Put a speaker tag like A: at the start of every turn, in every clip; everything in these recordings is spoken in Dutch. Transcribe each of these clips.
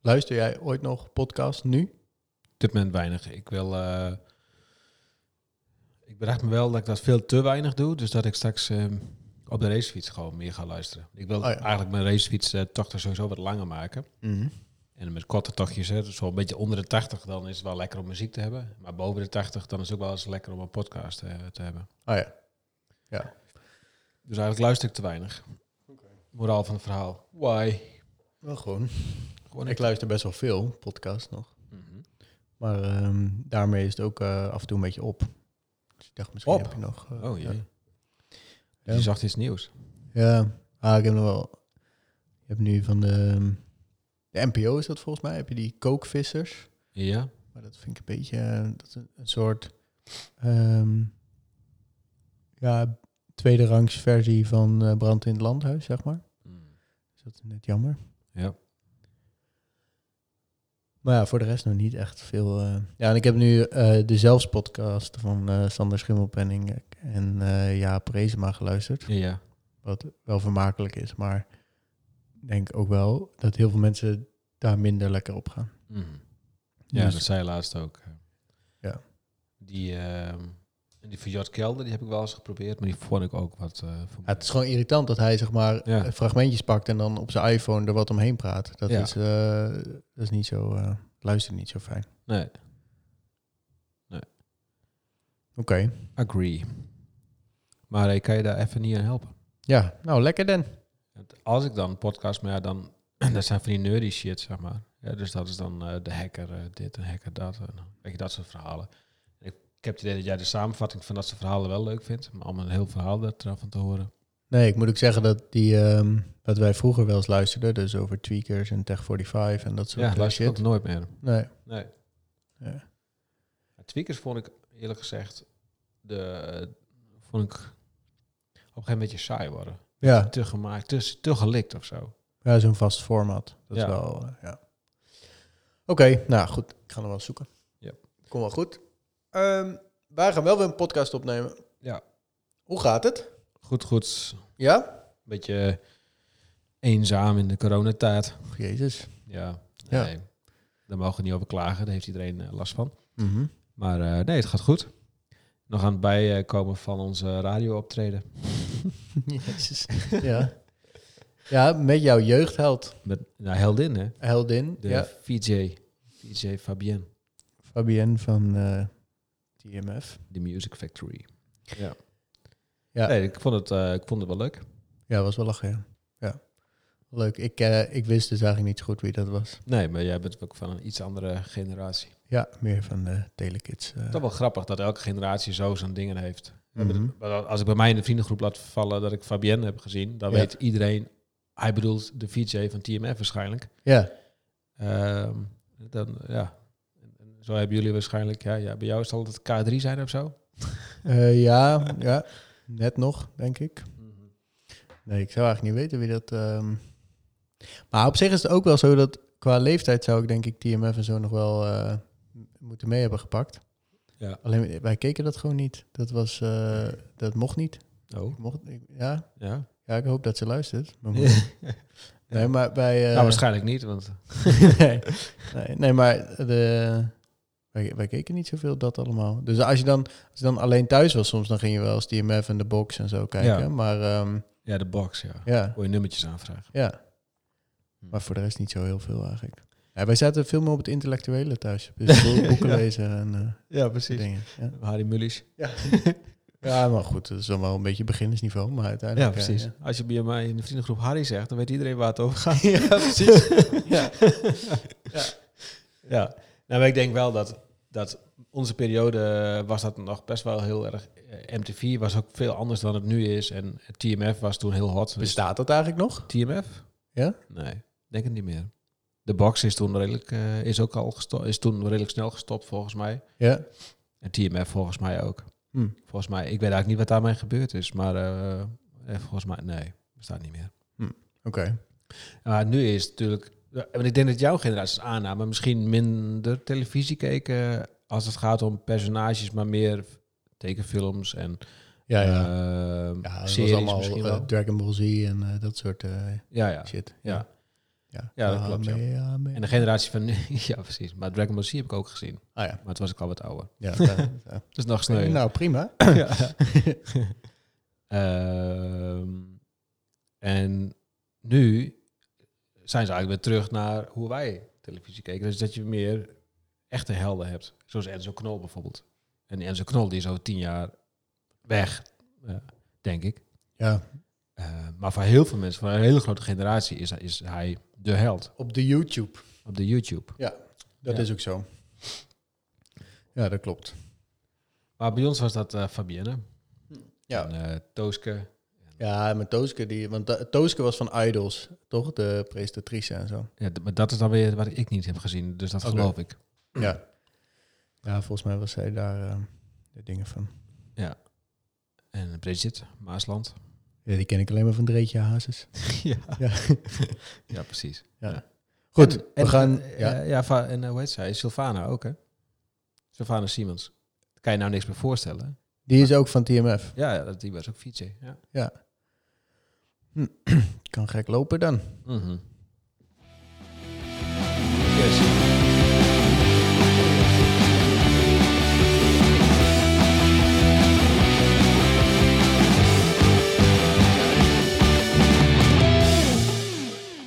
A: Luister jij ooit nog podcast nu?
B: Op dit moment weinig. Ik wil. eh, ik bedacht me wel dat ik dat veel te weinig doe. Dus dat ik straks eh, op de racefiets gewoon meer ga luisteren. Ik wil
A: Oh ja.
B: eigenlijk mijn racefiets eh, tochten sowieso wat langer maken. En met korte tochtjes, hè, dus wel een beetje onder de 80, dan is het wel lekker om muziek te hebben. Maar boven de 80, dan is het ook wel eens lekker om een podcast eh, te hebben.
A: Ah ja.
B: Dus eigenlijk luister ik te weinig. Moraal van het verhaal. Why?
A: Wel gewoon.
B: Gewoon
A: Ik luister best wel veel podcast nog.
B: Mhm.
A: Maar ehm, daarmee is het ook eh, af en toe een beetje op. Dus ik dacht, misschien
B: Op?
A: heb je nog... eh,
B: Oh jee.
A: Ja.
B: Dus je zag iets nieuws.
A: Ja. Ah, ik heb nog wel... Ik heb nu van de... De NPO is dat volgens mij. Heb je die kookvissers?
B: Ja?
A: Maar dat vind ik een beetje eh, dat is een, een soort ehm, ja, tweede rangs versie van eh, Brand in het Landhuis, zeg maar. Dus dat is net jammer.
B: Ja.
A: Maar ja, voor de rest nog niet echt veel. eh. Ja, en ik heb nu eh, de zelfspodcast van eh, Sander Schimmelpenning en eh Jaap Reesema geluisterd.
B: Ja.
A: Wat wel vermakelijk is, maar ik denk ook wel dat heel veel mensen daar minder lekker op gaan.
B: Mhm. Ja,
A: Dus-
B: dat zei je laatst ook.
A: Ja.
B: Die, ehm die van Jort Kelder, die heb ik wel eens geprobeerd, maar die vond ik ook wat... eh, voor
A: Ja, het is gewoon irritant dat hij zeg maar
B: Ja.
A: eh, fragmentjes pakt en dan op zijn iPhone er wat omheen praat. Dat,
B: Ja.
A: is, eh, dat is niet zo, eh luister niet zo fijn.
B: Nee,
A: Oké,
B: agree. Maar eh, kan je daar even niet aan helpen?
A: ja, nou lekker dan.
B: Want Als ik dan een podcast, maar ja, dan... dat zijn van die nerdy shit, zeg maar. Ja, dus dat is dan eh, de hacker eh, dit en hacker dat. En, weet je, dat soort verhalen. Ik, ik heb het idee dat jij de samenvatting van dat soort verhalen wel leuk vindt. Maar om een heel verhaal daarvan te horen.
A: Nee, ik moet ook zeggen dat die, ehm, wat wij vroeger wel eens luisterden, dus over tweakers en Tech45 en dat soort
B: Ja,
A: eh,
B: luister ik
A: shit.
B: ook nooit meer.
A: Nee,
B: Nee.
A: Ja.
B: Maar Tweakers vond ik eerlijk gezegd de vond ik op een gegeven moment beetje saai worden.
A: ja,
B: Te gemaakt, te, te gelikt of zo.
A: ja zo'n vast format. Dat
B: Ja.
A: is wel, eh, ja. Oké, nou goed, ik ga hem wel zoeken.
B: Ja.
A: Kom wel goed. Ehm, wij gaan wel weer een podcast opnemen.
B: Ja.
A: Hoe gaat het?
B: Goed, goed.
A: Ja?
B: Beetje eenzaam in de coronatijd.
A: Och, Jezus.
B: Ja.
A: Ja.
B: Nee, daar mogen we niet over klagen. Daar heeft iedereen eh, last van.
A: Mhm.
B: Maar eh, nee, het gaat goed. Nog aan het bijkomen van onze radiooptreden.
A: Jezus. ja. ja, met jouw jeugdheld,
B: Met nou, heldin, hè?
A: heldin,
B: De
A: ja.
B: VJ. VJ Fabienne.
A: Fabienne van eh TMF.
B: The Music Factory. Ja.
A: Ja.
B: Nee, ik, vond het, eh, ik vond het wel leuk.
A: Ja, was wel lachen, ja. ja. Leuk, ik, eh, ik wist dus eigenlijk niet zo goed wie dat was.
B: Nee, maar jij bent ook van een iets andere generatie.
A: Ja, meer van de telekids. eh.
B: Dat is wel grappig dat elke generatie zo zijn dingen heeft. We hebben
A: Mhm.
B: het- maar Als ik bij mij in de vriendengroep laat vallen dat ik Fabienne heb gezien, dan
A: Ja.
B: weet iedereen, hij bedoelt de VJ van TMF waarschijnlijk.
A: Ja,
B: Ehm, dan, ja. En Zo hebben jullie waarschijnlijk, ja, ja, bij jou zal het K3 zijn of zo.
A: Eh, ja, ja. Net nog, denk ik. Nee, ik zou eigenlijk niet weten wie dat... ehm. Maar op zich is het ook wel zo dat qua leeftijd zou ik denk ik TMF en zo nog wel eh, m- moeten mee hebben gepakt.
B: Ja.
A: Alleen wij keken dat gewoon niet. Dat, was, eh, dat mocht niet.
B: Oh,
A: Ik mocht, ik- ja,
B: ja.
A: ja, ik hoop dat ze luistert. mijn moeder. Nee, maar bij... eh,
B: nou, waarschijnlijk niet, want
A: nee, nee, nee, maar de, wij, wij keken niet zoveel dat allemaal. Dus als je, dan, als je dan alleen thuis was soms, dan ging je wel eens TMF en de box en zo kijken.
B: Ja.
A: Maar ehm,
B: ja, de box, ja.
A: ja,
B: Kon je nummertjes aanvragen.
A: ja. Maar voor de rest niet zo heel veel eigenlijk. Ja, wij zaten veel meer op het intellectuele thuis. Dus bo- boeken
B: Ja.
A: lezen en eh
B: Ja,
A: die dingen. Ja.
B: Harry Mullis.
A: ja, maar goed, dat is dan wel een beetje beginnersniveau. Maar
B: Ja,
A: uiteindelijk... eh,
B: precies. Als je bij mij in de vriendengroep Harry zegt, dan weet iedereen waar het over gaat.
A: ja, precies. ja.
B: Ja. Nou, maar ik denk wel dat, dat onze periode was dat nog best wel heel erg... eh, MTV was ook veel anders dan het nu is. En TMF was toen heel hot. Dus
A: Bestaat dat eigenlijk nog?
B: TMF?
A: Ja?
B: Nee, denk het niet meer. De box is toen redelijk, eh, is ook al gesto- is toen redelijk snel gestopt volgens mij.
A: Ja.
B: En TMF volgens mij ook.
A: Hm.
B: Volgens mij, ik weet eigenlijk niet wat daarmee gebeurd is, maar eh, eh, volgens mij, nee, bestaat niet meer.
A: Oké.
B: Maar nu is het natuurlijk. ja, Want ik denk dat jouw generatie als aanname misschien minder televisie keken als het gaat om personages, maar meer tekenfilms en
A: Ja, ja.
B: ehm,
A: ja, dat was
B: series
A: allemaal
B: misschien
A: eh,
B: wel.
A: Dragon Ball Z en eh, dat soort eh,
B: ja, ja,
A: shit.
B: ja.
A: Ja,
B: Ja, dat klopt, ja.
A: Kamehameha.
B: En de generatie van nu, ja precies. Maar Dragon Ball Z heb ik ook gezien.
A: Ah ja.
B: Maar het was ik al wat ouder.
A: ja, dat- ja.
B: Dus nog sneu.
A: Nou, prima.
B: Ja. Ehm, en nu zijn ze eigenlijk weer terug naar hoe wij televisie keken. Dus dat je meer echte helden hebt. Zoals Enzo Knol bijvoorbeeld. En Enzo Knol die is over tien jaar weg, eh, denk ik.
A: Ja,
B: Eh, maar voor heel veel mensen, voor een hele grote generatie, is, is hij de held
A: op de YouTube.
B: op de YouTube.
A: Dat
B: Ja.
A: is ook zo. Ja, dat klopt.
B: Maar bij ons was dat eh, Fabienne.
A: Ja.
B: En, eh, Tooske.
A: Ja, en met Tooske, die, want da- Tooske was van Idols, toch? De presentatrice en zo.
B: Ja, d- maar dat is dan weer wat ik niet heb gezien. Dus dat
A: Oké.
B: geloof ik.
A: Ja. Ja, volgens mij was zij daar eh, de dingen van.
B: En Bridget, Maasland.
A: Ja, die ken ik alleen maar van Dreetje Hazes.
B: ja.
A: Ja.
B: ja, precies.
A: Goed,
B: En-
A: we
B: en,
A: gaan...
B: eh,
A: ja.
B: eh, ja, va- en eh, hoe heet zij? Sylvana ook, hè? Sylvana Siemens. Kan je nou niks meer voorstellen?
A: Die is ook van TMF.
B: Ja, ja, dat- die was ook fietsen. Ja.
A: Kan gek lopen dan.
B: Mhm. Yes.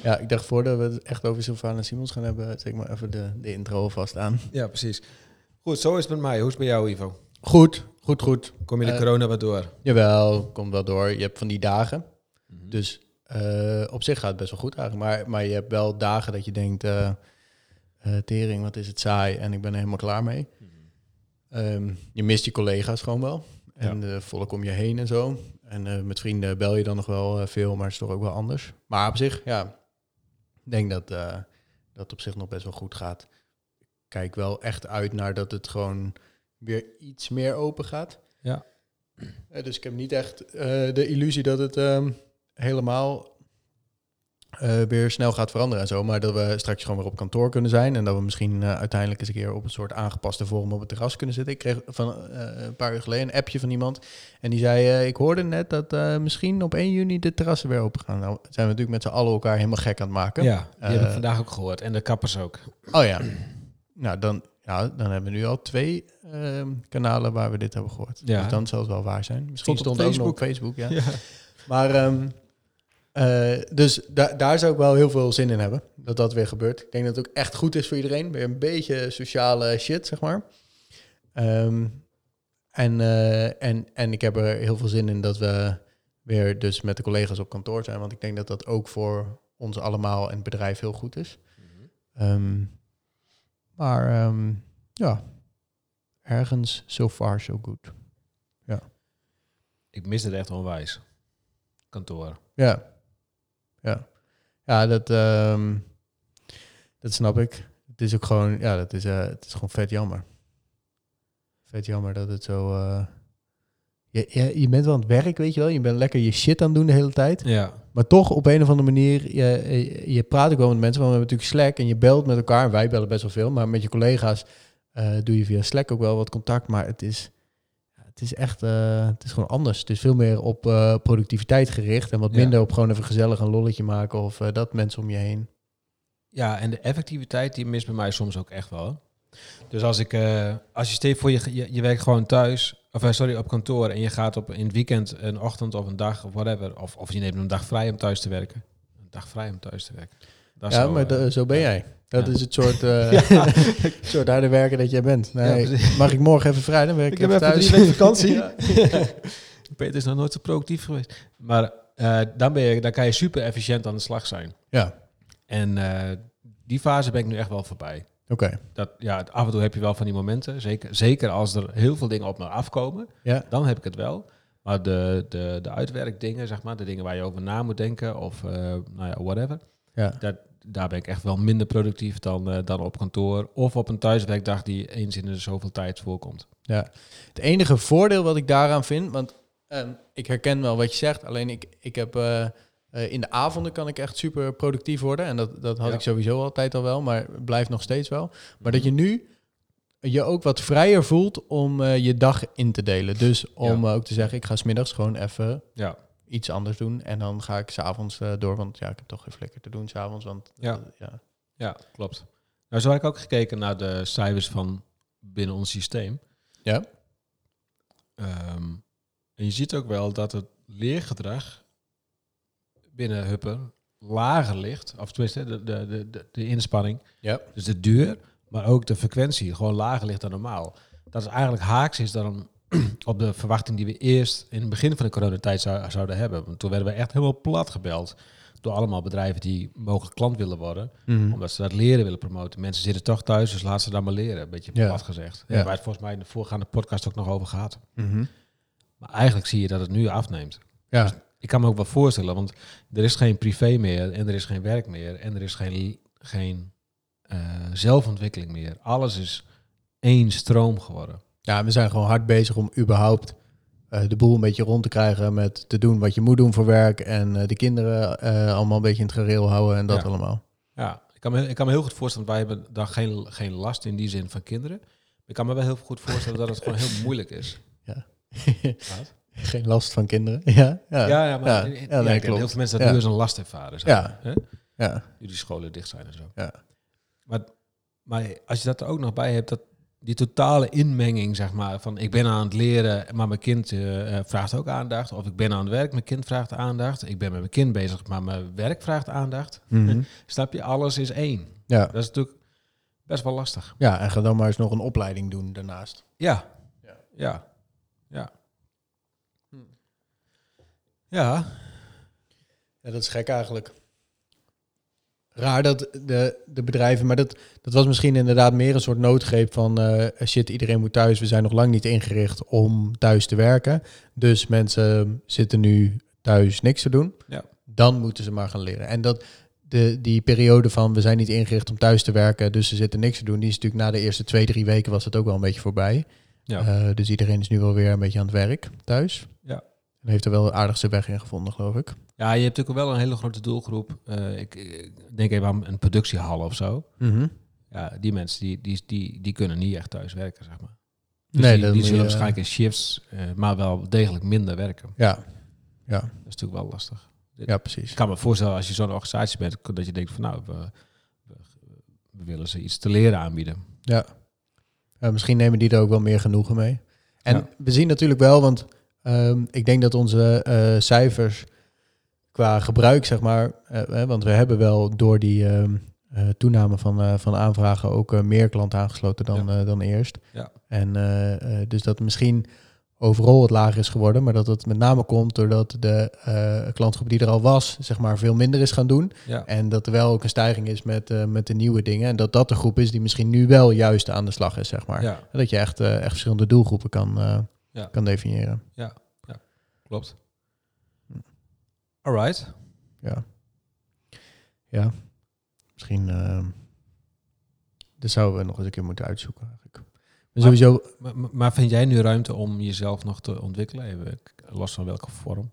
A: Ja, ik dacht voordat we het echt over Sylvana Simons gaan hebben, zeg maar even de, de intro alvast aan.
B: Ja, precies. Goed, zo is het met mij. Hoe is het bij jou, Ivo?
A: Goed, goed, goed.
B: Kom je de
A: Eh,
B: corona wat door?
A: Jawel, komt wel door. Je hebt van die dagen. Dus eh, op zich gaat het best wel goed eigenlijk. Maar, maar je hebt wel dagen dat je denkt, eh, eh, tering, wat is het saai en ik ben er helemaal klaar mee. Ehm, je mist je collega's gewoon wel. En eh volk om je heen en zo. En eh, met vrienden bel je dan nog wel eh, veel, maar het is toch ook wel anders. Maar op zich, ja, ik denk dat eh, dat het op zich nog best wel goed gaat. Ik kijk wel echt uit naar dat het gewoon weer iets meer open gaat.
B: Ja.
A: Eh, dus ik heb niet echt eh, de illusie dat het ehm, helemaal eh, weer snel gaat veranderen en zo. Maar dat we straks gewoon weer op kantoor kunnen zijn. En dat we misschien eh, uiteindelijk eens een keer op een soort aangepaste vorm op het terras kunnen zitten. Ik kreeg van eh, een paar uur geleden een appje van iemand. En die zei, eh, ik hoorde net dat eh, misschien op 1 juni de terrassen weer open gaan. Nou zijn we natuurlijk met z'n allen elkaar helemaal gek aan het maken.
B: Ja, die heb ik
A: Eh,
B: vandaag ook gehoord. En de kappers ook.
A: Oh ja. Nou, dan, ja, dan hebben we nu al twee ehm, kanalen waar we dit hebben gehoord.
B: Ja.
A: Dus dan zal het wel waar zijn. Misschien
B: Stond op
A: stond, het ook nog op Facebook, ja.
B: Ja.
A: Maar, ehm, eh, dus da- daar zou ik wel heel veel zin in hebben, dat dat weer gebeurt. Ik denk dat het ook echt goed is voor iedereen. Weer een beetje sociale shit, zeg maar. Ehm, en, eh, en, en ik heb er heel veel zin in dat we weer dus met de collega's op kantoor zijn. Want ik denk dat dat ook voor ons allemaal en het bedrijf heel goed is. Ehm, maar ehm, ja, ergens so far so good.
B: Ik mis het echt onwijs. Kantoor.
A: Ja, ja, ja dat, ehm, dat snap ik. Het is ook gewoon, ja, dat is, eh, het is gewoon vet jammer. Vet jammer dat het zo... eh, je, je, je bent wel aan het werk, weet je wel. Je bent lekker je shit aan het doen de hele tijd.
B: Ja.
A: Maar toch op een of andere manier, je, je- je praat ook wel met mensen, want we hebben natuurlijk Slack en je belt met elkaar. En wij bellen best wel veel, maar met je collega's eh, doe je via Slack ook wel wat contact. Maar het is, het is echt, eh, het is gewoon anders. Het is veel meer op eh, productiviteit gericht en wat
B: Ja.
A: minder op gewoon even gezellig een lolletje maken of eh, dat mensen om je heen.
B: Ja, en de effectiviteit die mist bij mij soms ook echt wel. hoor. Dus als ik, eh, als je steeds voor je, je, je werkt gewoon thuis, of eh, sorry, op kantoor en je gaat op in het weekend een ochtend of een dag of whatever, of, of je neemt een dag vrij om thuis te werken. Een dag vrij om thuis te werken. Dat
A: ja,
B: zou,
A: maar
B: eh,
A: da- zo ben
B: ja.
A: jij. Dat
B: Ja.
A: is het soort, eh soort harde werken dat jij bent. Nee,
B: Ja, precies.
A: mag ik morgen even vrij, dan werk ik,
B: Ik heb even
A: thuis.
B: drie weken vakantie.
A: Ja.
B: Peter is nog nooit zo productief geweest. Maar eh, dan, ben je, dan kan je super efficiënt aan de slag zijn.
A: Ja,
B: En eh, die fase ben ik nu echt wel voorbij.
A: oké.
B: Dat, ja, af en toe heb je wel van die momenten. Zeker, zeker als er heel veel dingen op me afkomen.
A: Ja.
B: Dan heb ik het wel. Maar de, de, de uitwerkdingen, zeg maar, de dingen waar je over na moet denken of eh, nou ja, whatever.
A: Ja.
B: Dat, daar ben ik echt wel minder productief dan, eh, dan op kantoor. Of op een thuiswerkdag die eens in de zoveel tijd voorkomt.
A: Ja, het enige voordeel wat ik daaraan vind, want ehm, ik herken wel wat je zegt, alleen ik, ik heb eh, eh, in de avonden kan ik echt super productief worden en dat, dat had
B: Ja.
A: ik sowieso altijd al wel, maar het blijft nog steeds wel. Maar dat je
B: Mhm.
A: nu je ook wat vrijer voelt om eh, je dag in te delen. Dus om eh, ook te zeggen, ik ga smiddags gewoon even
B: Ja.
A: iets anders doen. En dan ga ik s'avonds eh door, want ja, ik heb toch geen flikker te doen s'avonds. Want
B: Ja.
A: eh, ja.
B: Ja, klopt. Nou, zo heb ik ook gekeken naar de cijfers van binnen ons systeem.
A: Ja.
B: Ehm, en je ziet ook wel dat het leergedrag binnen Hupper lager ligt. Of tenminste, de, de, de, de, de inspanning.
A: Ja.
B: Dus de duur, maar ook de frequentie gewoon lager ligt dan normaal. Dat is eigenlijk haaks is dan op de verwachting die we eerst in het begin van de coronatijd zou- zouden hebben. Want toen werden we echt helemaal plat gebeld door allemaal bedrijven die mogelijk klant willen worden
A: Mhm.
B: omdat ze dat leren willen promoten. Mensen zitten toch thuis, dus laat ze dan maar leren. Een beetje
A: Ja.
B: plat gezegd.
A: Ja.
B: Ja. Waar het volgens mij in de voorgaande podcast ook nog over gaat.
A: Mhm.
B: Maar eigenlijk zie je dat het nu afneemt.
A: Ja.
B: Ik kan me ook wel voorstellen, want er is geen privé meer en er is geen werk meer en er is geen, geen eh, zelfontwikkeling meer. Alles is één stroom geworden.
A: ja, we zijn gewoon hard bezig om überhaupt eh, de boel een beetje rond te krijgen met te doen wat je moet doen voor werk. En eh, de kinderen eh, allemaal een beetje in het gereel houden en dat
B: Ja.
A: allemaal.
B: Ja, ik kan me, ik kan me heel goed voorstellen, want wij hebben daar geen, geen last in die zin van kinderen. Ik kan me wel heel goed voorstellen dat het gewoon heel moeilijk is. Wat?
A: geen last van kinderen. Ja, ja.
B: Ja, ja, maar
A: Ja,
B: in- in-
A: ja, nee,
B: ja, ik denk
A: klopt.
B: heel veel mensen dat
A: Ja.
B: nu als een last ervaren. zeg
A: Ja.
B: maar, hè?
A: ja.
B: nu die scholen dicht zijn en zo.
A: Ja.
B: Maar, maar als je dat er ook nog bij hebt, dat die totale inmenging, zeg maar, van ik ben aan het leren, maar mijn kind eh, eh, vraagt ook aandacht. Of ik ben aan het werk, mijn kind vraagt aandacht. Ik ben met mijn kind bezig, maar mijn werk vraagt aandacht.
A: Mhm.
B: Snap je? Alles is één.
A: ja.
B: Dat is natuurlijk best wel lastig.
A: Ja, en ga dan maar eens nog een opleiding doen daarnaast.
B: Ja.
A: Ja.
B: Ja. Ja.
A: Hm.
B: Ja.
A: Ja, dat is gek eigenlijk. Raar dat de, de bedrijven, maar dat, dat was misschien inderdaad meer een soort noodgreep van eh, shit, iedereen moet thuis. We zijn nog lang niet ingericht om thuis te werken. Dus mensen zitten nu thuis niks te doen.
B: Ja.
A: Dan moeten ze maar gaan leren. En dat de, die periode van we zijn niet ingericht om thuis te werken, dus ze zitten niks te doen, die is natuurlijk na de eerste twee, drie weken was dat ook wel een beetje voorbij.
B: Ja.
A: Eh, dus iedereen is nu wel weer een beetje aan het werk thuis.
B: Ja.
A: En heeft er wel aardig zijn weg in gevonden, geloof ik.
B: Ja, je hebt natuurlijk wel een hele grote doelgroep. Eh, ik, ik denk even aan een productiehal of zo. Ja, die mensen die, die, die, die kunnen niet echt thuis werken, zeg maar. Dus
A: Nee,
B: die,
A: dan
B: die
A: moet
B: zullen
A: je- eh,
B: waarschijnlijk in shifts, eh, maar wel degelijk minder werken.
A: Ja,
B: Dat is natuurlijk wel lastig.
A: ja
B: Ik
A: precies.
B: kan me voorstellen als je zo'n organisatie bent, dat je denkt van nou, we, we- we willen ze iets te leren aanbieden.
A: Ja. Eh, misschien nemen die er ook wel meer genoegen mee. En
B: Ja.
A: we zien natuurlijk wel, want ehm, ik denk dat onze eh, cijfers qua gebruik, zeg maar, eh, hè, want we hebben wel door die ehm, eh, toename van, eh, van aanvragen ook eh, meer klanten aangesloten dan, eh, dan eerst.
B: Ja.
A: En eh, eh, dus dat misschien overal het lager is geworden, maar dat het met name komt doordat de eh, klantgroep die er al was, zeg maar, veel minder is gaan doen.
B: Ja,
A: En dat er wel ook een stijging is met, eh, met de nieuwe dingen. En dat dat de groep is die misschien nu wel juist aan de slag is, zeg maar.
B: ja
A: Dat je echt, eh, echt verschillende doelgroepen kan, eh,
B: Ja.
A: kan definiëren.
B: klopt. All right.
A: Ja. Ja. Misschien. eh, dat zouden we nog eens een keer moeten uitzoeken, eigenlijk. Maar
B: Maar-
A: sowieso.
B: Maar, maar- maar vind jij nu ruimte om jezelf nog te ontwikkelen, even los van welke vorm?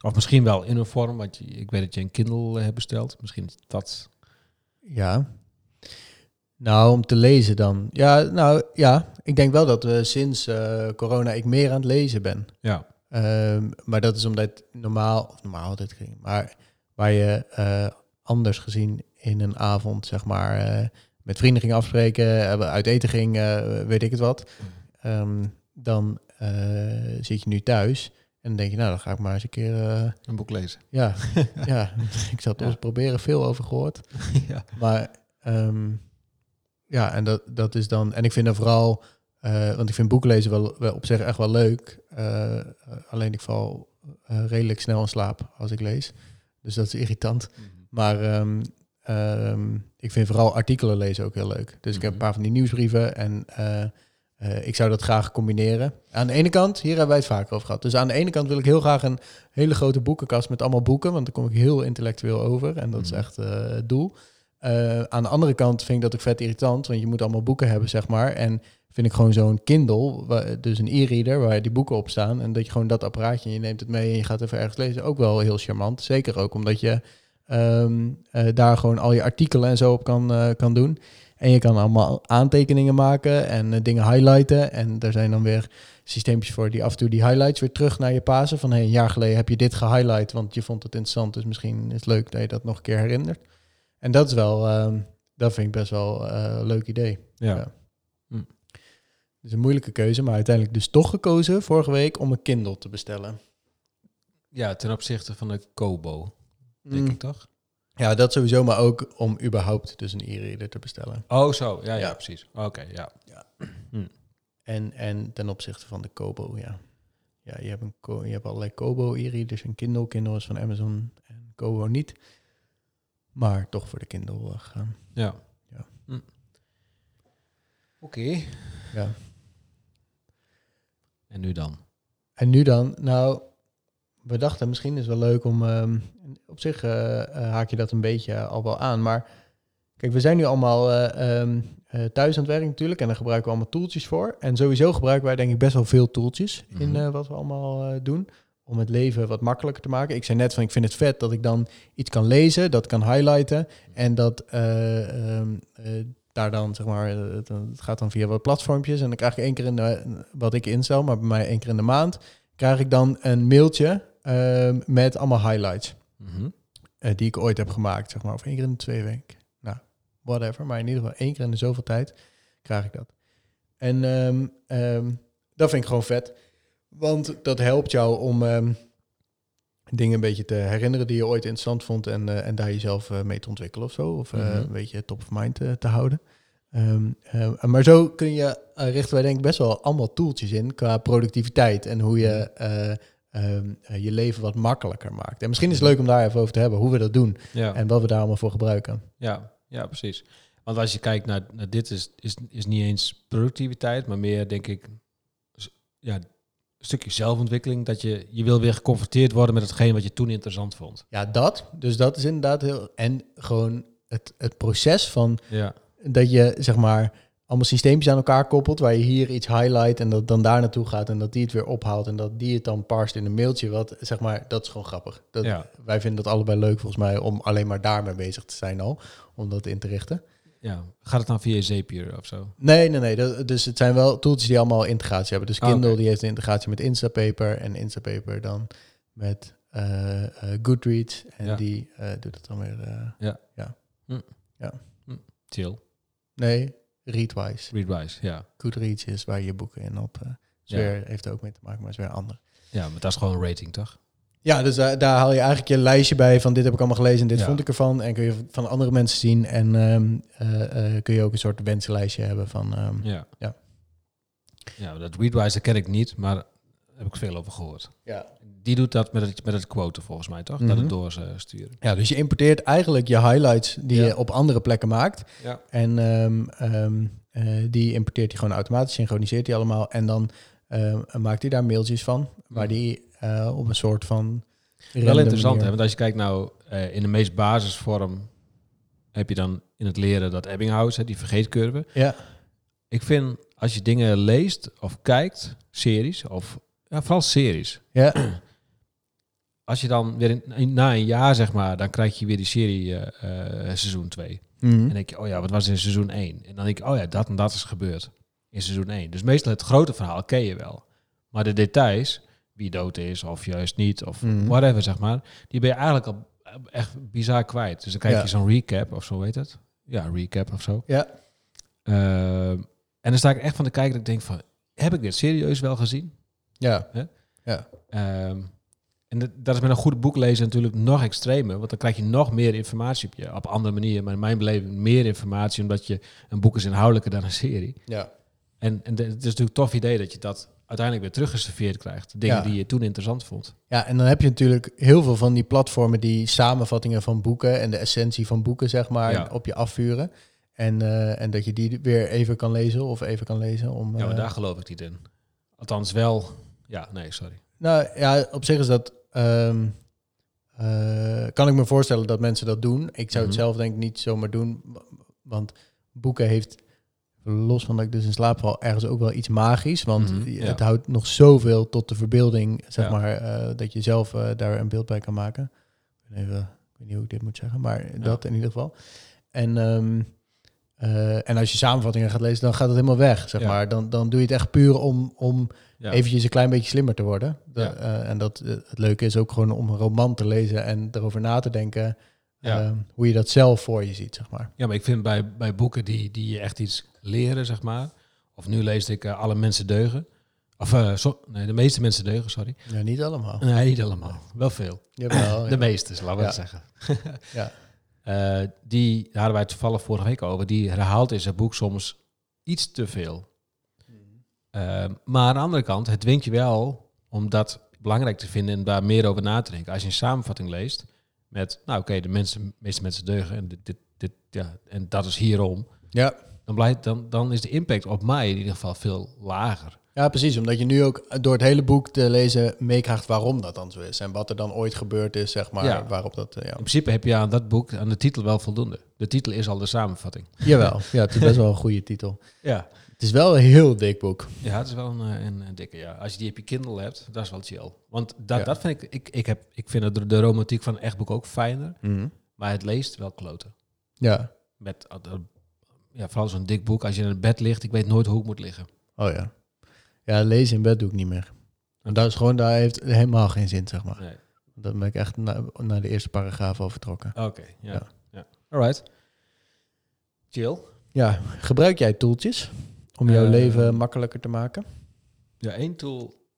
B: Of misschien wel in een vorm, want je- ik weet dat je een Kindle eh, hebt besteld. Misschien is dat...
A: Ja. Nou, om te lezen dan. Ja, nou ja. Ik denk wel dat we sinds eh, corona ik meer aan het lezen ben.
B: Ja,
A: Ehm, maar dat is omdat normaal, of normaal dit ging, maar waar je eh, anders gezien in een avond, zeg maar, eh, met vrienden ging afspreken, eh, uit eten ging, eh, weet ik het wat, ehm, dan eh, zit je nu thuis en dan denk je, nou, dan ga ik maar eens een keer, eh,
B: een boek lezen.
A: ja, ja, ik zal het
B: Ja.
A: eens proberen, veel over gehoord.
B: ja.
A: Maar ehm, ja, en dat, dat is dan. En ik vind er vooral. eh, want ik vind boeklezen wel, wel op zich echt wel leuk. Eh, eh, alleen ik val eh, redelijk snel in slaap als ik lees. Dus dat is irritant. Maar ehm, ehm, ik vind vooral artikelen lezen ook heel leuk. Dus ik heb een
B: Mhm.
A: paar van die nieuwsbrieven. En eh, eh, ik zou dat graag combineren. Aan de ene kant, hier hebben wij het vaker over gehad. Dus aan de ene kant wil ik heel graag een hele grote boekenkast met allemaal boeken. Want dan kom ik heel intellectueel over. En dat is
B: Mhm.
A: echt eh, het doel. Eh, aan de andere kant vind ik dat ook vet irritant. Want je moet allemaal boeken hebben, zeg maar. En vind ik gewoon zo'n Kindle, wa- dus een e-reader, waar die boeken op staan. En dat je gewoon dat apparaatje, en je neemt het mee en je gaat even ergens lezen. Ook wel heel charmant. Zeker ook omdat je ehm, eh, daar gewoon al je artikelen en zo op kan, eh, kan doen. En En je kan allemaal aantekeningen maken en eh, dingen highlighten. En daar zijn dan weer systeempjes voor die af en toe die highlights weer terug naar je pasen. Van hey, een jaar geleden heb je dit gehighlight, want je vond het interessant. Dus misschien is het leuk dat je dat nog een keer herinnert. En dat is wel, ehm, dat vind ik best wel eh, een leuk idee.
B: Ja.
A: Ja. Dus een moeilijke keuze, maar uiteindelijk dus toch gekozen vorige week om een Kindle te bestellen.
B: ja, ten opzichte van de Kobo, denk
A: Mm.
B: ik toch?
A: Ja, dat sowieso, maar ook om überhaupt dus een e-reader te bestellen.
B: Oh, zo. Ja, ja,
A: Ja.
B: precies. Oké, ja.
A: En, en ten opzichte van de Kobo, ja. Ja, je hebt, een, Ko- je hebt allerlei Kobo e-readers en Kindle. Kindle is van Amazon en Kobo niet. Maar toch voor de Kindle eh, gegaan.
B: Ja.
A: Ja.
B: Hm. Oké.
A: Ja.
B: En nu dan?
A: En nu dan, nou, we dachten misschien is het wel leuk om... ehm, op zich eh, eh, haak je dat een beetje eh, al wel aan, maar... Kijk, we zijn nu allemaal eh, ehm, eh, thuis aan het werk natuurlijk en daar gebruiken we allemaal toeltjes voor. En sowieso gebruiken wij denk ik best wel veel toeltjes in
B: Mhm.
A: eh, wat we allemaal eh, doen. Om het leven wat makkelijker te maken. Ik zei net van ik vind het vet dat ik dan iets kan lezen, dat kan highlighten. En dat eh, ehm, eh, daar dan, zeg maar, eh, het, het gaat dan via wat platformpjes. En dan krijg ik één keer in de, wat ik instel, maar bij mij één keer in de maand, krijg ik dan een mailtje ehm, met allemaal highlights
B: Mhm.
A: eh, die ik ooit heb gemaakt, zeg maar. Of één keer in de twee weken. Nou, whatever. Maar in ieder geval één keer in de zoveel tijd krijg ik dat. En ehm, ehm, dat vind ik gewoon vet. Want dat helpt jou om ehm, dingen een beetje te herinneren die je ooit interessant vond. En, eh, en daar jezelf eh, mee te ontwikkelen of zo. Of eh,
B: Mhm.
A: een beetje top of mind eh, te houden. Ehm, eh, maar zo kun je, eh, richten wij denk ik best wel allemaal toeltjes in qua productiviteit en hoe je eh, ehm, eh, je leven wat makkelijker maakt. En misschien is het leuk om daar even over te hebben, hoe we dat doen
B: Ja.
A: en wat we daar allemaal voor gebruiken.
B: Ja, ja, precies. Want als je kijkt naar, naar dit, is, is, is niet eens productiviteit, maar meer denk ik s- ja, een stukje zelfontwikkeling. Dat je, je wil weer geconfronteerd worden met hetgeen wat je toen interessant vond.
A: Ja, dat. Dus dat is inderdaad heel... En gewoon het, het proces van
B: Ja,
A: dat je, zeg maar, allemaal systeempjes aan elkaar koppelt, waar je hier iets highlight en dat dan daar naartoe gaat en dat die het weer ophaalt en dat die het dan parst in een mailtje. Wat, zeg maar, dat is gewoon grappig. Dat,
B: ja,
A: Wij vinden dat allebei leuk volgens mij om alleen maar daarmee bezig te zijn al, om dat in te richten.
B: ja. Gaat het dan via Zapier of zo?
A: Nee, nee, nee. Dat, dus het zijn wel tools die allemaal integratie hebben. Dus
B: Ah,
A: Kindle
B: oké.
A: die heeft een integratie met Instapaper en Instapaper dan met eh, eh, Goodreads. En
B: Ja.
A: die eh, doet het dan weer... eh,
B: Chill.
A: nee, Readwise.
B: Readwise, ja.
A: Goodreads is waar je boeken in op... eh, is
B: Ja.
A: weer, heeft er ook mee te maken, maar is weer ander.
B: Ja, maar dat is gewoon een rating, toch?
A: Ja, dus daar, daar haal je eigenlijk je lijstje bij van dit heb ik allemaal gelezen en dit
B: Ja.
A: vond ik ervan. En kun je van andere mensen zien en ehm, eh, eh, kun je ook een soort wensenlijstje hebben van... ehm,
B: Ja.
A: Ja.
B: Ja, maar dat Readwise dat ken ik niet, maar daar heb ik veel over gehoord.
A: ja.
B: Die doet dat met het, met het quoten volgens mij, toch? Dat
A: Mhm.
B: het doorsturen.
A: ja, dus je importeert eigenlijk je highlights die
B: Ja.
A: je op andere plekken maakt.
B: Ja.
A: En ehm, ehm, eh, die importeert hij gewoon automatisch, synchroniseert hij allemaal. En dan ehm, maakt hij daar mailtjes van, waar die eh, op een soort van.
B: Wel interessant, hè? Want als je kijkt nou eh, in de meest basisvorm heb je dan in het leren dat Ebbinghaus, hè, die vergeetcurve.
A: Ja.
B: Ik vind als je dingen leest of kijkt, series of ja, vooral series.
A: Ja,
B: Als je dan weer in- in- na een jaar zeg maar, dan krijg je weer die serie eh, eh, seizoen 2. En
A: Mhm.
B: denk je, oh ja, wat was in seizoen 1? En dan denk ik, oh ja, dat en dat is gebeurd in seizoen 1. Dus meestal het grote verhaal ken je wel. Maar de details, wie dood is of juist niet, of
A: Mhm.
B: whatever, zeg maar, die ben je eigenlijk al eh, echt bizar kwijt. Dus dan krijg
A: Ja.
B: je zo'n recap of zo heet het. Ja, recap of zo.
A: ja.
B: Ehm, en dan sta ik echt van de kijker dat ik denk van, heb ik dit serieus wel gezien?
A: ja.
B: Ehm, en dat, dat is met een goed boek lezen natuurlijk nog extremer, want dan krijg je nog meer informatie op je, op andere manieren. Maar in mijn beleving meer informatie, omdat je een boek is inhoudelijker dan een serie.
A: ja.
B: En, en de- het is natuurlijk een tof idee dat je dat uiteindelijk weer teruggeserveerd krijgt. Dingen
A: Ja.
B: die je toen interessant vond.
A: Ja, en dan heb je natuurlijk heel veel van die platformen die samenvattingen van boeken en de essentie van boeken, zeg maar,
B: Ja.
A: op je afvuren. En, eh, en dat je die weer even kan lezen of even kan lezen. Om,
B: Ja, maar
A: eh,
B: daar geloof ik niet in. Althans wel... Ja, nee, sorry.
A: Nou ja, op zich is dat. ehm, eh, kan ik me voorstellen dat mensen dat doen. Ik zou
B: Mhm.
A: het zelf denk ik niet zomaar doen. w- Want boeken heeft, los van dat ik dus in slaap val, ergens ook wel iets magisch. Want
B: Mhm,
A: je-
B: ja.
A: het houdt nog zoveel tot de verbeelding, zeg
B: Ja.
A: maar, eh, dat je zelf eh, daar een beeld bij kan maken. Even, ik weet niet hoe ik dit moet zeggen, maar dat in ieder geval. En ehm, eh, Eh, en als je samenvattingen gaat lezen, dan gaat het helemaal weg, zeg
B: Ja.
A: maar. Dan, dan doe je het echt puur om, om
B: Ja.
A: eventjes een klein beetje slimmer te worden. De-
B: Ja.
A: eh, en dat, eh, het leuke is ook gewoon om een roman te lezen en erover na te denken
B: Ja.
A: eh, hoe je dat zelf voor je ziet, zeg maar.
B: Ja, maar ik vind bij, bij boeken die, die je echt iets leren, zeg maar. Of nu lees ik eh, Alle mensen deugen. Of eh, zo- nee, de meeste mensen deugen, sorry.
A: Ja, niet allemaal.
B: Nee, niet allemaal. Wel veel.
A: Jawel,
B: De
A: Oh, ja.
B: meeste, laten we het
A: Ja.
B: zeggen.
A: Ja.
B: Eh, die daar hadden wij toevallig vorige week over. Die herhaalt in zijn boek soms iets te veel.
A: Mhm.
B: Eh, maar aan de andere kant, het dwingt je wel om dat belangrijk te vinden en daar meer over na te denken. Als je een samenvatting leest met, nou oké, de mensen, de meeste mensen deugen en, dit, dit, dit, ja, en dat is hierom.
A: Ja.
B: Dan, blijft, dan, dan is de impact op mij in ieder geval veel lager.
A: ja, precies. Omdat je nu ook door het hele boek te lezen meekrijgt waarom dat dan zo is. En wat er dan ooit gebeurd is, zeg maar.
B: Ja.
A: Waarop dat, eh, ja.
B: In principe heb je aan dat boek, aan de titel wel voldoende. De titel is al de samenvatting.
A: Jawel, ja, het is best wel een goede titel.
B: Ja,
A: Het is wel een heel dik boek.
B: ja het is wel een, eh, een, een dikke, ja. Als je die op je Kindle hebt, dat is wel chill. Want dat,
A: Ja.
B: dat vind ik, ik, ik, heb, ik vind de, de romantiek van een echt boek ook fijner. Maar het leest wel kloten.
A: Ja,
B: met eh, eh, ja, vooral zo'n dik boek. Als je in het bed ligt, ik weet nooit hoe ik moet liggen.
A: oh ja. Ja, lezen in bed doe ik niet meer. Want dat is gewoon, daar heeft helemaal geen zin, zeg maar.
B: Nee.
A: Dan ben ik echt na- naar de eerste paragraaf al vertrokken.
B: Oké, ja.
A: Ja.
B: ja. Alright. Chill.
A: Ja, gebruik jij toeltjes om jouw
B: Eh,
A: leven makkelijker te maken?
B: Ja, één tool,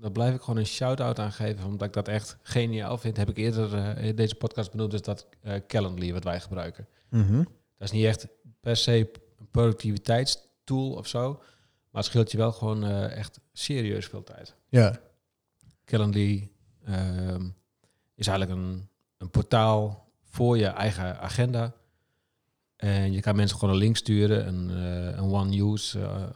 B: daar blijf ik gewoon een shout-out aan geven, omdat ik dat echt geniaal vind. Heb ik eerder eh, in deze podcast benoemd, is dat eh, Calendly, wat wij gebruiken.
A: Mhm.
B: Dat is niet echt per se een productiviteitstool of zo, maar het scheelt je wel gewoon eh, echt serieus veel tijd.
A: Ja,
B: Calendly ehm, is eigenlijk een, een portaal voor je eigen agenda. En je kan mensen gewoon een link sturen, een, eh, een one-use eh, eh,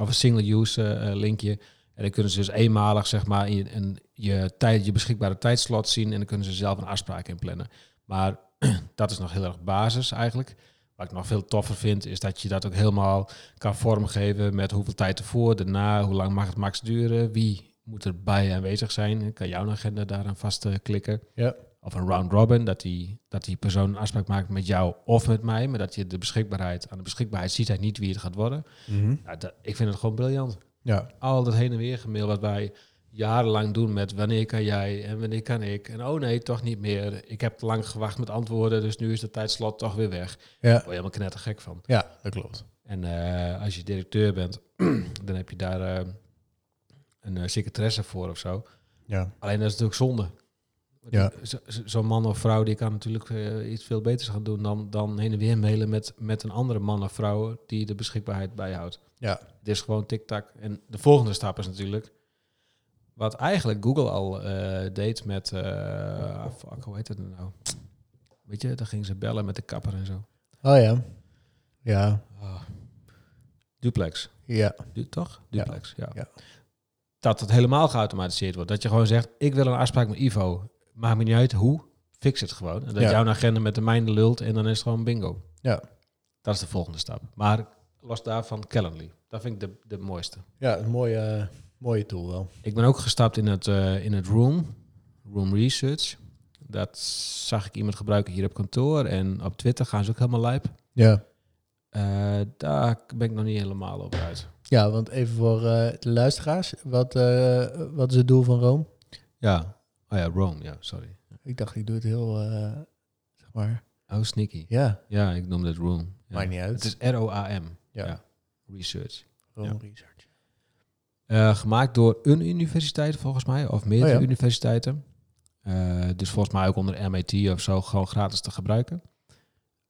B: of een single-use eh, eh, linkje. En dan kunnen ze dus eenmalig zeg maar, in je, in je, tijd, je beschikbare tijdslot zien en dan kunnen ze zelf een afspraak in plannen. Maar dat is nog heel erg basis eigenlijk. Wat ik nog veel toffer vind, is dat je dat ook helemaal kan vormgeven met hoeveel tijd ervoor, daarna, hoe lang mag het max duren, wie moet erbij aanwezig zijn. Dan kan jouw agenda daaraan vast eh, klikken.
A: Ja.
B: Of een round robin, dat die, dat die persoon een afspraak maakt met jou of met mij, maar dat je de beschikbaarheid, aan de beschikbaarheid ziet hij niet wie het gaat worden.
A: Mhm.
B: Ja, dat, ik vind het gewoon briljant
A: ja,
B: al dat heen en weer gemail wat wij jarenlang doen met wanneer kan jij en wanneer kan ik. En oh nee, toch niet meer. Ik heb te lang gewacht met antwoorden, dus nu is de tijdslot toch weer weg. Daar
A: ja,
B: word je helemaal knettergek van.
A: ja, dat klopt.
B: En eh, als je directeur bent, dan heb je daar eh, een eh, secretaresse voor of zo.
A: Ja,
B: Alleen dat is natuurlijk zonde. Want
A: Ja.
B: die- zo- zo- Zo'n man of vrouw die kan natuurlijk eh, iets veel beters gaan doen dan, dan heen en weer mailen met, met een andere man of vrouw die de beschikbaarheid bijhoudt.
A: Ja.
B: Het is gewoon tik-tak. En de volgende stap is natuurlijk wat eigenlijk Google al eh, deed met, eh, fuck, hoe heet het nou? Weet je, dan gingen ze bellen met de kapper en zo.
A: oh ja. Ja,
B: Ah. Duplex.
A: ja,
B: Du toch?
A: Ja.
B: Duplex, ja.
A: Ja.
B: Dat het helemaal geautomatiseerd wordt. Dat je gewoon zegt, ik wil een afspraak met Ivo. Maakt me niet uit hoe, fix het gewoon. En dat
A: Ja.
B: jouw agenda met de mijne lult en dan is het gewoon bingo.
A: Ja.
B: Dat is de volgende stap. Maar los daarvan Calendly. Dat vind ik de, de mooiste.
A: ja, een mooie, eh, mooie tool wel.
B: Ik ben ook gestapt in het, eh, in het Room, Room Research. Dat zag ik iemand gebruiken hier op kantoor. En op Twitter gaan ze ook helemaal lijp.
A: Ja.
B: Eh, daar ben ik nog niet helemaal over uit.
A: Ja, want even voor eh, de luisteraars, wat, eh, wat is het doel van Rome?
B: Ja, oh ja, Rome, ja, sorry.
A: Ik dacht, ik doe het heel, eh, zeg maar,
B: Oh, sneaky.
A: ja,
B: Ja, ik noem dat Room. Ja.
A: maakt niet uit.
B: Het is R-O-A-M,
A: ja,
B: ja. Research.
A: Rome
B: ja.
A: Research.
B: Eh, gemaakt door een universiteit volgens mij, of meerdere
A: Oh ja.
B: universiteiten. Eh, dus volgens mij ook onder MIT of zo, gewoon gratis te gebruiken.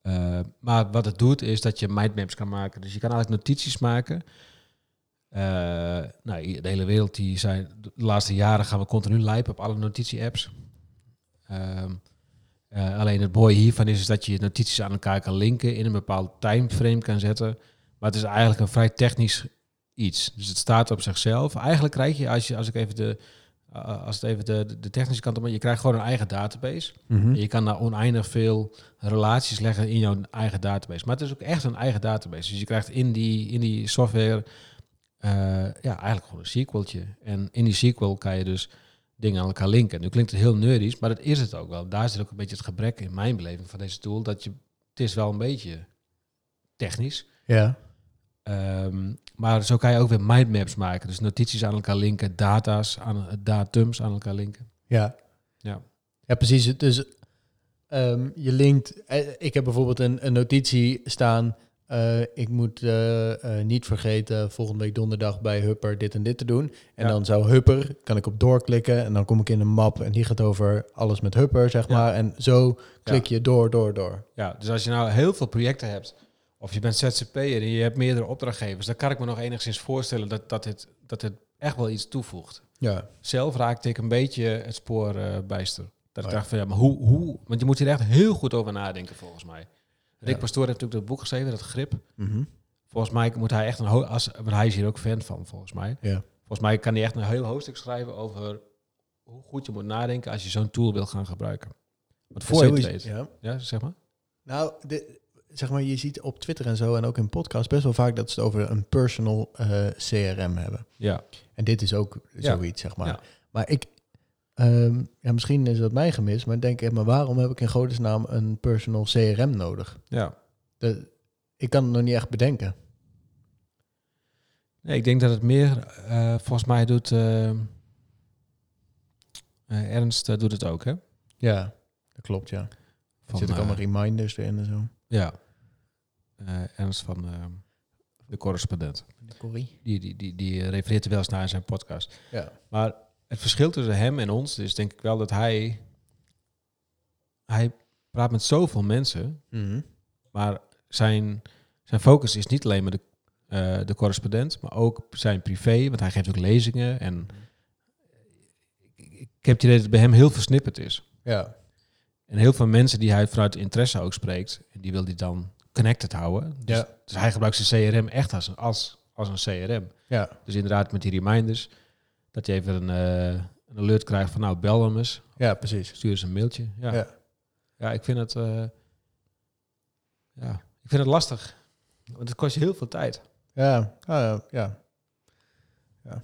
B: Eh, maar wat het doet, is dat je mindmaps kan maken. Dus je kan eigenlijk notities maken. Eh, nou, i- de hele wereld, die zijn, de laatste jaren gaan we continu lijpen op alle notitie-apps. Ehm, eh, alleen het mooie hiervan is, is dat je notities aan elkaar kan linken, in een bepaald timeframe kan zetten. Maar het is eigenlijk een vrij technisch iets. Dus het staat op zichzelf. Eigenlijk krijg je, als, je, als ik even de, eh, als het even de, de technische kant op, je krijgt gewoon een eigen database.
A: Hm. Mhm.
B: En je kan daar oneindig veel relaties leggen in jouw eigen database. Maar het is ook echt een eigen database. Dus je krijgt in die, in die software eh, ja, eigenlijk gewoon een SQLtje. En in die SQL kan je dus dingen aan elkaar linken. Nu klinkt het heel nerdisch, maar dat is het ook wel. Daar zit ook een beetje het gebrek in mijn beleving van deze tool. Dat je, het is wel een beetje technisch.
A: Ja.
B: Ehm, maar zo kan je ook weer mindmaps maken. Dus notities aan elkaar linken, data's aan, datums aan elkaar linken.
A: Ja.
B: Ja.
A: Ja, precies. Het- Dus ehm, je linkt... eh, Ik heb bijvoorbeeld een, een notitie staan. eh, ik moet eh, eh, niet vergeten volgende week donderdag bij Hupper dit en dit te doen. En
B: Ja.
A: dan zou Hupper, kan ik op doorklikken en dan kom ik in een map. En die gaat over alles met Hupper, zeg
B: Ja.
A: maar. En zo klik je door, door, door.
B: Ja, dus als je nou heel veel projecten hebt, of je bent ZZP'er en je hebt meerdere opdrachtgevers, dan kan ik me nog enigszins voorstellen dat, dat, het, dat het echt wel iets toevoegt.
A: Ja.
B: Zelf raakte ik een beetje het spoor eh, bijster. Dat
A: Oh ja.
B: ik dacht van ja, maar hoe, hoe? Want je moet hier echt heel goed over nadenken volgens mij. Rick
A: Ja.
B: Pastoor heeft natuurlijk dat boek geschreven, dat grip. Volgens mij moet hij echt een ho- als, want hij is hier ook fan van, volgens mij.
A: Ja.
B: Volgens mij kan hij echt een heel hoofdstuk schrijven over hoe goed je moet nadenken als je zo'n tool wil gaan gebruiken. Want voor je het
A: Sowieso-
B: weet. Ja.
A: ja.
B: zeg maar.
A: Nou, de- zeg maar, je ziet op Twitter en zo en ook in podcasts best wel vaak dat ze het over een personal eh, CRM hebben.
B: Ja.
A: En dit is ook
B: Ja.
A: zoiets, zeg maar.
B: Ja.
A: Maar ik, ehm, ja, misschien is dat mij gemist, maar ik denk, eh, maar waarom heb ik in godesnaam een personal CRM nodig?
B: ja.
A: Dat, ik kan het nog niet echt bedenken.
B: Nee, ik denk dat het meer, eh, volgens mij doet eh, eh, Ernst eh, doet het ook, hè?
A: Ja, dat klopt, ja. Er
B: Van,
A: zitten ook
B: eh,
A: allemaal reminders erin en zo.
B: Ja. Eh, Ernst van eh, de correspondent.
A: Corrie.
B: Die, die, die, die eh, refereert er wel eens naar in zijn podcast.
A: Ja.
B: Maar het verschil tussen hem en ons is denk ik wel dat hij... Hij praat met zoveel mensen,
A: Mhm.
B: maar zijn, zijn focus is niet alleen maar de, eh, de correspondent, maar ook zijn privé, want hij geeft ook lezingen. En ik, ik heb het idee dat het bij hem heel versnipperd is.
A: Ja,
B: En heel veel mensen die hij vanuit interesse ook spreekt, die wil hij dan connected houden. Dus,
A: Ja.
B: dus hij gebruikt zijn CRM echt als een, als, als een CRM.
A: ja,
B: Dus inderdaad met die reminders, dat je even een, eh, een alert krijgt van nou bel hem eens,
A: ja, precies.
B: stuur eens een mailtje. Ja,
A: Ja.
B: ja. ik vind het... eh, ja, ik vind het lastig. Want het kost je heel veel tijd.
A: Ja, ah, ja. ja.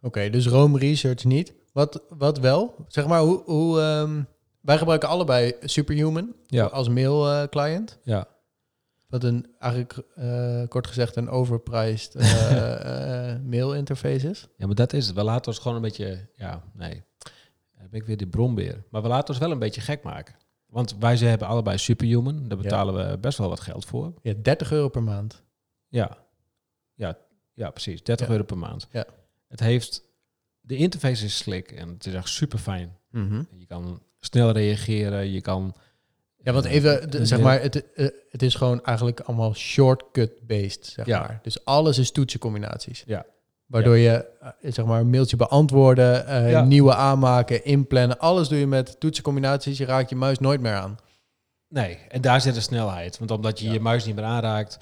A: Oké, dus Rome Research niet. Wat, wat wel? Zeg maar, hoe, hoe, ehm, wij gebruiken allebei Superhuman
B: Ja.
A: als mail eh, client.
B: Ja.
A: Wat een, eigenlijk eh, kort gezegd een overpriced eh, eh, mail interface is.
B: Ja, maar dat is het. We laten ons gewoon een beetje... Ja, nee. Dan ben ik weer die bronbeer. Maar we laten ons wel een beetje gek maken. Want wij ze hebben allebei Superhuman. Daar
A: Ja.
B: betalen we best wel wat geld voor.
A: Ja, 30 euro per maand.
B: Ja, ja, ja precies. 30
A: Ja.
B: euro per maand.
A: Ja.
B: Het heeft... De interface is slik en het is echt super fijn. Je kan snel reageren, je kan...
A: Ja, want
B: eh,
A: even,
B: een
A: de- zeg
B: mail-
A: maar, het, eh, het is gewoon eigenlijk allemaal shortcut-based, zeg
B: Ja.
A: maar. Dus alles is toetsencombinaties.
B: Ja.
A: Waardoor je, eh, zeg maar, een mailtje beantwoorden, eh,
B: Ja.
A: nieuwe aanmaken, inplannen. Alles doe je met toetsencombinaties. Je raakt je muis nooit meer aan.
B: Nee, en daar zit de snelheid. Want omdat je
A: Ja.
B: je muis niet meer aanraakt,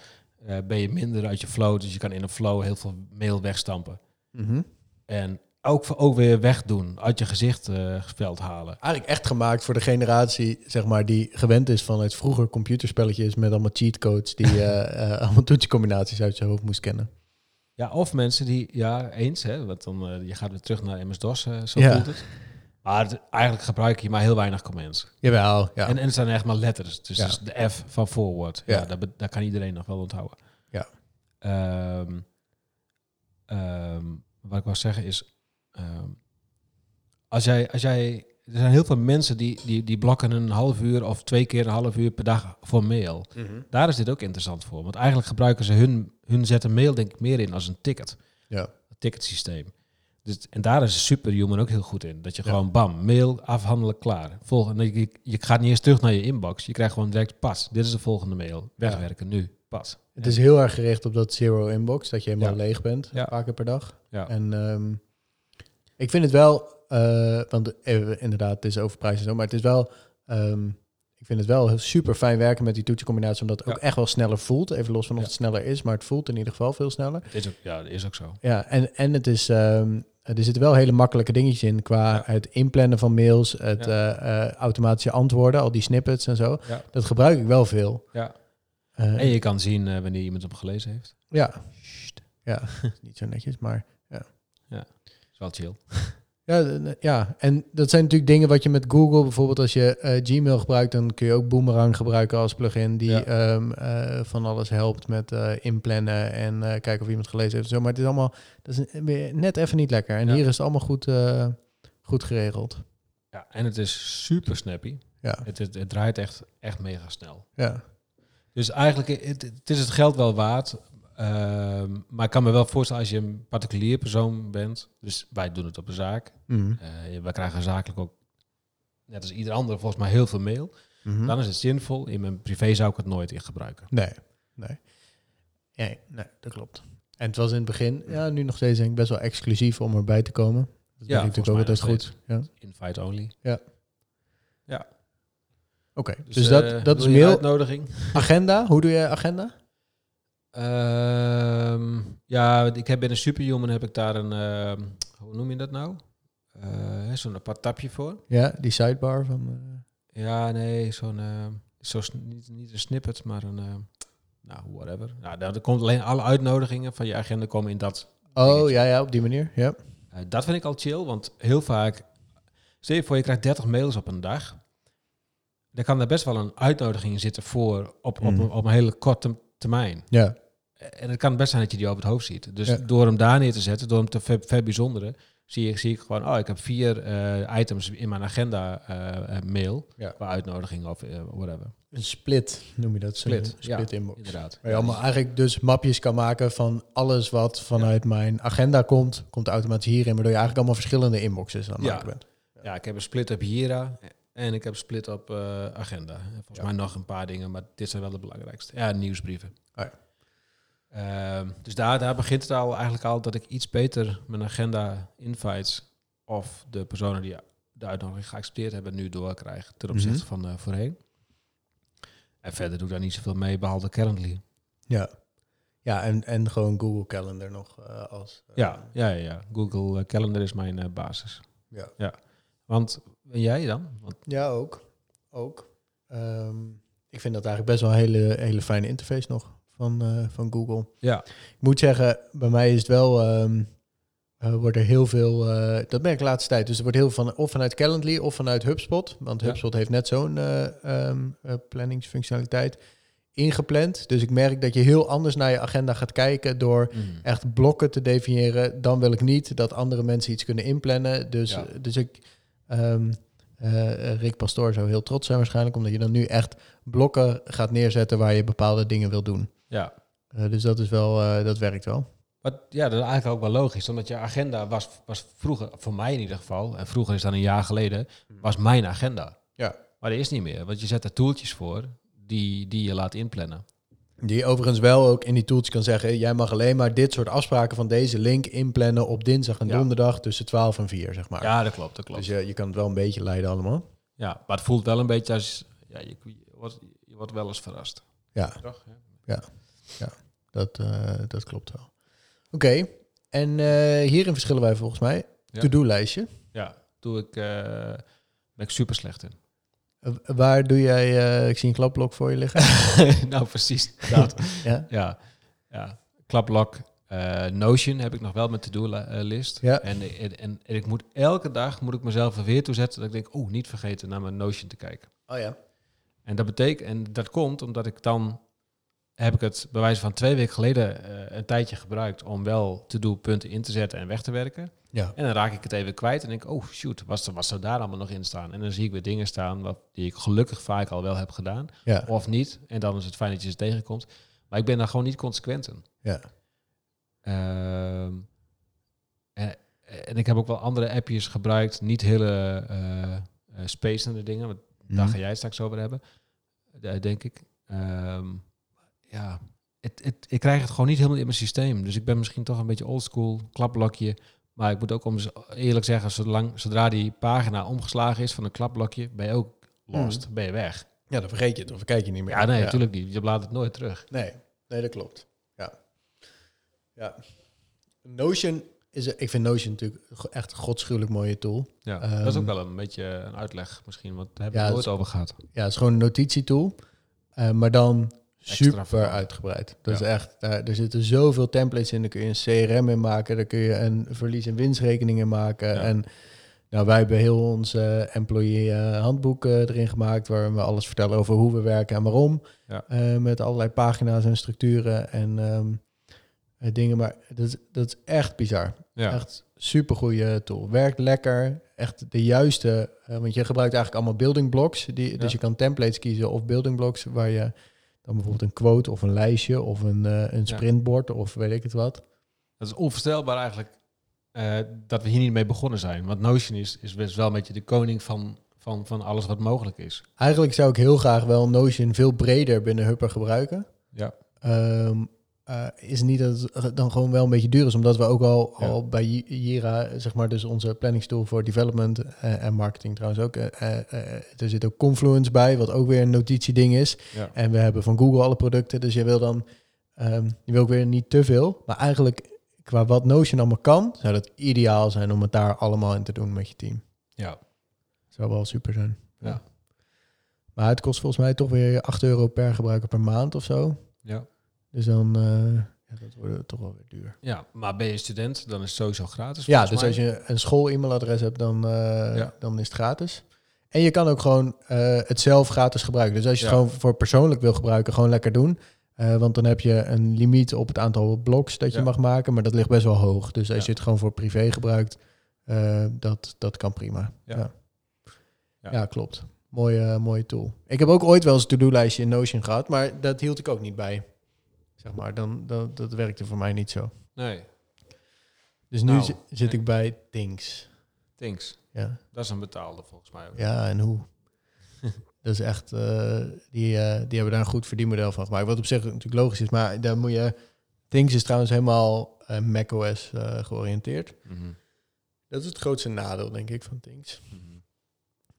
B: eh, ben je minder uit je flow. Dus je kan in een flow heel veel mail wegstampen. En ook, ook weer wegdoen, uit je gezicht eh, veld halen.
A: Eigenlijk echt gemaakt voor de generatie, zeg maar, die gewend is van het vroeger computerspelletjes met allemaal cheatcodes die eh, eh, allemaal toetsencombinaties uit zijn hoofd moest kennen.
B: Ja, of mensen die, ja, eens, hè, want dan eh, je gaat weer terug naar MS-DOS, eh, zo
A: Ja.
B: voelt het. Maar het- eigenlijk gebruik je maar heel weinig commands.
A: Jawel, ja.
B: En, en het zijn echt maar letters. Dus
A: Ja.
B: dat is de F van forward.
A: Ja.
B: Ja, dat, be- dat kan iedereen nog wel onthouden.
A: Ja.
B: Ehm, ehm, wat ik wil zeggen is... ehm, als jij, als jij, er zijn heel veel mensen die, die, die blokken een half uur of twee keer een half uur per dag voor mail. Daar is dit ook interessant voor. Want eigenlijk gebruiken ze hun, hun zetten mail denk ik meer in als een ticket.
A: Ja.
B: Een ticketsysteem. Dus, en daar is Superhuman ook heel goed in. Dat je
A: Ja.
B: gewoon bam, mail afhandelen, klaar. Volgende, je, je gaat niet eens terug naar je inbox. Je krijgt gewoon direct pas. Dit is de volgende mail. Wegwerken nu. Pas.
A: Het is heel erg gericht op dat zero inbox, dat je helemaal
B: Ja.
A: leeg bent,
B: Ja.
A: een paar keer per dag.
B: Ja.
A: En ehm, ik vind het wel, eh, want eh, inderdaad, het is overprijs en zo, maar het is wel, ehm, ik vind het wel heel super fijn werken met die toetsencombinatie, omdat het ook
B: Ja.
A: echt wel sneller voelt. Even los van of
B: Ja.
A: het sneller is, maar het voelt in ieder geval veel sneller.
B: Dat is ook, ja, dat is ook zo.
A: Ja, en, en het is, ehm, er zitten wel hele makkelijke dingetjes in qua het inplannen van mails, het eh, eh, automatische antwoorden, al die snippets en zo.
B: Ja.
A: Dat gebruik ik wel veel.
B: Ja.
A: Eh,
B: En je kan zien eh, wanneer iemand hem gelezen heeft.
A: ja. Ja, niet zo netjes, maar
B: Dat is wel chill.
A: Ja, d- ja, en dat zijn natuurlijk dingen wat je met Google bijvoorbeeld, als je eh, Gmail gebruikt, dan kun je ook Boomerang gebruiken als plugin die
B: Ja.
A: ehm, eh, van alles helpt met eh, inplannen en eh, kijken of iemand gelezen heeft. en Zo, maar het is allemaal dat is een- weer net even niet lekker. En
B: Ja.
A: hier is het allemaal goed, eh, goed geregeld.
B: Ja, en het is super snappy.
A: Ja,
B: Het, het, het draait echt, echt mega snel.
A: ja,
B: Dus eigenlijk, het, het is het geld wel waard. ehm, maar ik kan me wel voorstellen als je een particulier persoon bent. Dus wij doen het op een zaak.
A: Mhm.
B: Eh wij krijgen zakelijk ook, net als ieder ander, volgens mij heel veel mail.
A: Mhm.
B: Dan is het zinvol. In mijn privé zou ik het nooit in gebruiken.
A: Nee, nee. Nee, nee, dat klopt. En het was in het begin, ja, nu nog steeds denk ik best wel exclusief om erbij te komen. Dat
B: Ja,
A: ja, natuurlijk ook
B: volgens
A: altijd
B: mij nog
A: goed. Ja. Oké,
B: Invite only.
A: dus, dat,
B: eh,
A: dat is
B: wil je een
A: mail.
B: uitnodiging.
A: Agenda, hoe doe je agenda?
B: Ehm, ja, ik heb bij de Superhuman heb ik daar een, ehm, hoe noem je dat nou? Eh, zo'n apart tapje voor.
A: Ja, die sidebar van... eh,
B: Ja, nee, zo'n, ehm, zo sn- niet, niet een snippet, maar een, ehm, nou, whatever. Nou, daar daar komt alleen alle uitnodigingen van je agenda komen in dat.
A: Oh, ja, ja, op die manier. Ja.
B: Eh, dat vind ik al chill, want heel vaak, stel je voor je krijgt 30 mails op een dag. Dan kan er best wel een uitnodiging in zitten voor op, op,
A: Mhm.
B: een, op een hele korte termijn.
A: Ja.
B: En het kan best zijn dat je die over het hoofd ziet. Dus
A: Ja.
B: door hem daar neer te zetten, door hem te ver, verbijzonderen, zie ik, zie ik gewoon, oh, ik heb vier eh, items in mijn agenda eh, eh, mail,
A: Ja.
B: qua uitnodiging of eh, whatever.
A: Een split noem je dat. zo'n
B: Split,
A: split inbox.
B: Inderdaad.
A: Waar je allemaal eigenlijk dus mapjes kan maken van alles wat vanuit mijn agenda komt, komt automatisch hierin, waardoor je eigenlijk allemaal verschillende inboxes aan het
B: Ja.
A: maken bent.
B: Ja, ik heb een split op Hira en ik heb een split op eh, agenda. En Volgens
A: Ja.
B: mij nog een paar dingen, maar dit zijn wel de belangrijkste. Ja, nieuwsbrieven.
A: Oh ja.
B: Ehm, dus daar, daar begint het al eigenlijk al dat ik iets beter mijn agenda invites of de personen die de uitnodiging geaccepteerd hebben nu doorkrijg ten opzichte
A: Mhm.
B: van eh, voorheen. En verder doe ik daar niet zoveel mee, behalve Calendly.
A: Ja. Ja, en, en gewoon Google Calendar nog eh, als... eh,
B: Ja, ja, ja, ja. Google eh, Calendar is mijn eh, basis.
A: Ja.
B: ja. Want en jij dan? Want,
A: Ja, ook. Ook. Ehm, ik vind dat eigenlijk best wel een hele, hele fijne interface nog van, eh, van Google.
B: ja,
A: Ik moet zeggen, bij mij is het wel... ehm, eh, wordt er heel veel... eh, dat merk ik de laatste tijd. Dus er wordt heel veel van... Of vanuit Calendly of vanuit HubSpot. Want
B: Ja.
A: HubSpot heeft net zo'n eh, ehm, eh, planningsfunctionaliteit ingepland. Dus ik merk dat je heel anders naar je agenda gaat kijken... door
B: Mm.
A: echt blokken te definiëren. Dan wil ik niet dat andere mensen iets kunnen inplannen. Dus,
B: Ja.
A: dus ik. ehm, eh, Rick Pastoor zou heel trots zijn waarschijnlijk, omdat je dan nu echt blokken gaat neerzetten waar je bepaalde dingen wil doen.
B: ja.
A: Eh, dus dat is wel, eh, dat werkt wel.
B: Wat, ja, dat is eigenlijk ook wel logisch. Omdat je agenda was, was vroeger, voor mij in ieder geval, en vroeger is dan een jaar geleden, was mijn agenda.
A: Ja.
B: Maar die is niet meer, want je zet er toeltjes voor die, die je laat inplannen.
A: Die overigens wel ook in die tools kan zeggen, eh, jij mag alleen maar dit soort afspraken van deze link inplannen op dinsdag en
B: Ja.
A: donderdag tussen 12 en 4, zeg maar.
B: Ja, dat klopt, dat
A: dus
B: klopt.
A: je, je kan het wel een beetje leiden allemaal.
B: Ja, maar het voelt wel een beetje als, ja, je, je, wordt, je wordt wel eens verrast.
A: Ja.
B: Toch? Ja.
A: Dat, eh, dat klopt wel. Oké, en eh, hierin verschillen wij volgens mij.
B: Ja.
A: To-do-lijstje.
B: Ja, doe ik, eh, ben ik super slecht in.
A: Eh, Waar doe jij, eh, ik zie een klapblok voor je liggen.
B: nou, precies dat.
A: ja.
B: Ja, ja. Klaplok. eh, Notion heb ik nog wel met to-do-list.
A: Ja.
B: eh, En, en, en, en ik moet elke dag moet ik mezelf er weer toe zetten dat ik denk, oh, niet vergeten naar mijn Notion te kijken.
A: Oh ja.
B: En dat betekent, en dat komt omdat ik dan heb ik het bij wijze van twee weken geleden eh, een tijdje gebruikt om wel to-do-punten in te zetten en weg te werken.
A: Ja.
B: En dan raak ik het even kwijt en denk, oh shoot, wat, wat zou daar allemaal nog in staan? En dan zie ik weer dingen staan wat, die ik gelukkig vaak al wel heb gedaan
A: Ja.
B: of niet. En dan is het fijn dat je ze tegenkomt. Maar ik ben daar gewoon niet consequent in.
A: Ja.
B: Ehm, en, en ik heb ook wel andere appjes gebruikt, niet hele eh eh, spacende dingen, want
A: Mhm.
B: daar ga jij het straks over hebben, eh, denk ik. Ehm, ja, het, het, ik krijg het gewoon niet helemaal in mijn systeem. Dus ik ben misschien toch een beetje oldschool, klapblokje. Maar ik moet ook om z- eerlijk zeggen, zolang, zodra die pagina omgeslagen is van een klapblokje, ben je ook lost, ben je weg.
A: ja, dan vergeet je het of kijk je niet meer.
B: Ja, nee, natuurlijk niet. Je laat het nooit terug.
A: Nee. nee, dat klopt. Ja. ja. Notion is, ik vind Notion natuurlijk go- echt een godschuwelijk mooie tool.
B: Ja,
A: Ehm,
B: dat is ook wel een beetje een uitleg misschien, want daar hebben
A: Ja,
B: we
A: dat
B: het nooit over gehad.
A: Ja, het is gewoon een notitietool, eh, maar dan
B: Extra
A: super
B: verhaal.
A: uitgebreid. Dat
B: Ja.
A: is echt, daar, er zitten zoveel templates in, daar kun je een CRM in maken, daar kun je een verlies- en winstrekening in maken.
B: Ja.
A: En Nou, wij hebben heel ons eh, employee eh, handboek eh, erin gemaakt, waarin we alles vertellen over hoe we werken en waarom.
B: Ja.
A: Eh, met allerlei pagina's en structuren en ehm, eh, dingen. Maar dat, is- dat is echt bizar.
B: Ja.
A: Echt supergoeie tool. Werkt lekker. Echt de juiste. eh, want je gebruikt eigenlijk allemaal building blocks. Die,
B: Ja.
A: Dus je kan templates kiezen of building blocks waar je dan bijvoorbeeld een quote of een lijstje of een, eh, een
B: Ja.
A: sprintbord of weet ik het wat.
B: Dat is onvoorstelbaar eigenlijk eh, dat we hier niet mee begonnen zijn. Want Notion is, is best wel een beetje de koning van, van, van alles wat mogelijk is.
A: Eigenlijk zou ik heel graag wel Notion veel breder binnen Hupper gebruiken.
B: Ja.
A: Ehm, eh, is niet dat het dan gewoon wel een beetje duur is, omdat we ook al,
B: Ja.
A: al bij Ji- Jira, zeg maar, dus onze planningstoel voor development eh, en marketing trouwens ook. eh, eh, eh, er zit ook Confluence bij, wat ook weer een notitieding is.
B: Ja.
A: En we hebben van Google alle producten, dus je wil dan, ehm, je wil ook weer niet te veel. Maar eigenlijk, qua wat Notion allemaal kan, zou dat ideaal zijn om het daar allemaal in te doen met je team.
B: Ja.
A: Zou wel super zijn.
B: Ja.
A: Maar het kost volgens mij toch weer 8 euro per gebruiker per maand of zo.
B: Ja.
A: Dus dan eh, ja, dat wordt het toch wel weer duur.
B: ja, maar ben je student, dan is het sowieso gratis.
A: Ja,
B: volgens
A: dus
B: mij.
A: als je een school-e-mailadres hebt, dan, eh,
B: Ja.
A: dan is het gratis. En je kan ook gewoon eh, het zelf gratis gebruiken. Dus als je het
B: Ja.
A: gewoon voor persoonlijk wil gebruiken, gewoon lekker doen. Eh, want dan heb je een limiet op het aantal blogs dat je
B: Ja.
A: mag maken. Maar dat ligt best wel hoog. Dus als
B: Ja.
A: je het gewoon voor privé gebruikt, eh, dat, dat kan prima.
B: Ja.
A: Ja, ja.
B: Ja.
A: klopt. Mooie, mooie tool. Ik heb ook ooit wel eens een to-do-lijstje in Notion gehad, maar dat hield ik ook niet bij. Zeg maar, dan, dat, dat werkte voor mij niet zo.
B: Nee,
A: Dus nu
B: Nou,
A: zi- zit
B: nee.
A: ik bij Things.
B: thanks.
A: Ja,
B: Dat is een betaalde volgens mij ook.
A: ja en hoe? dat is echt, eh, die, eh, die hebben daar een goed verdienmodel van gemaakt. Wat op zich natuurlijk logisch is, maar daar moet je... Things is trouwens helemaal eh, macOS eh, georiënteerd.
B: Mhm.
A: Dat is het grootste nadeel, denk ik, van Things.
B: Mhm.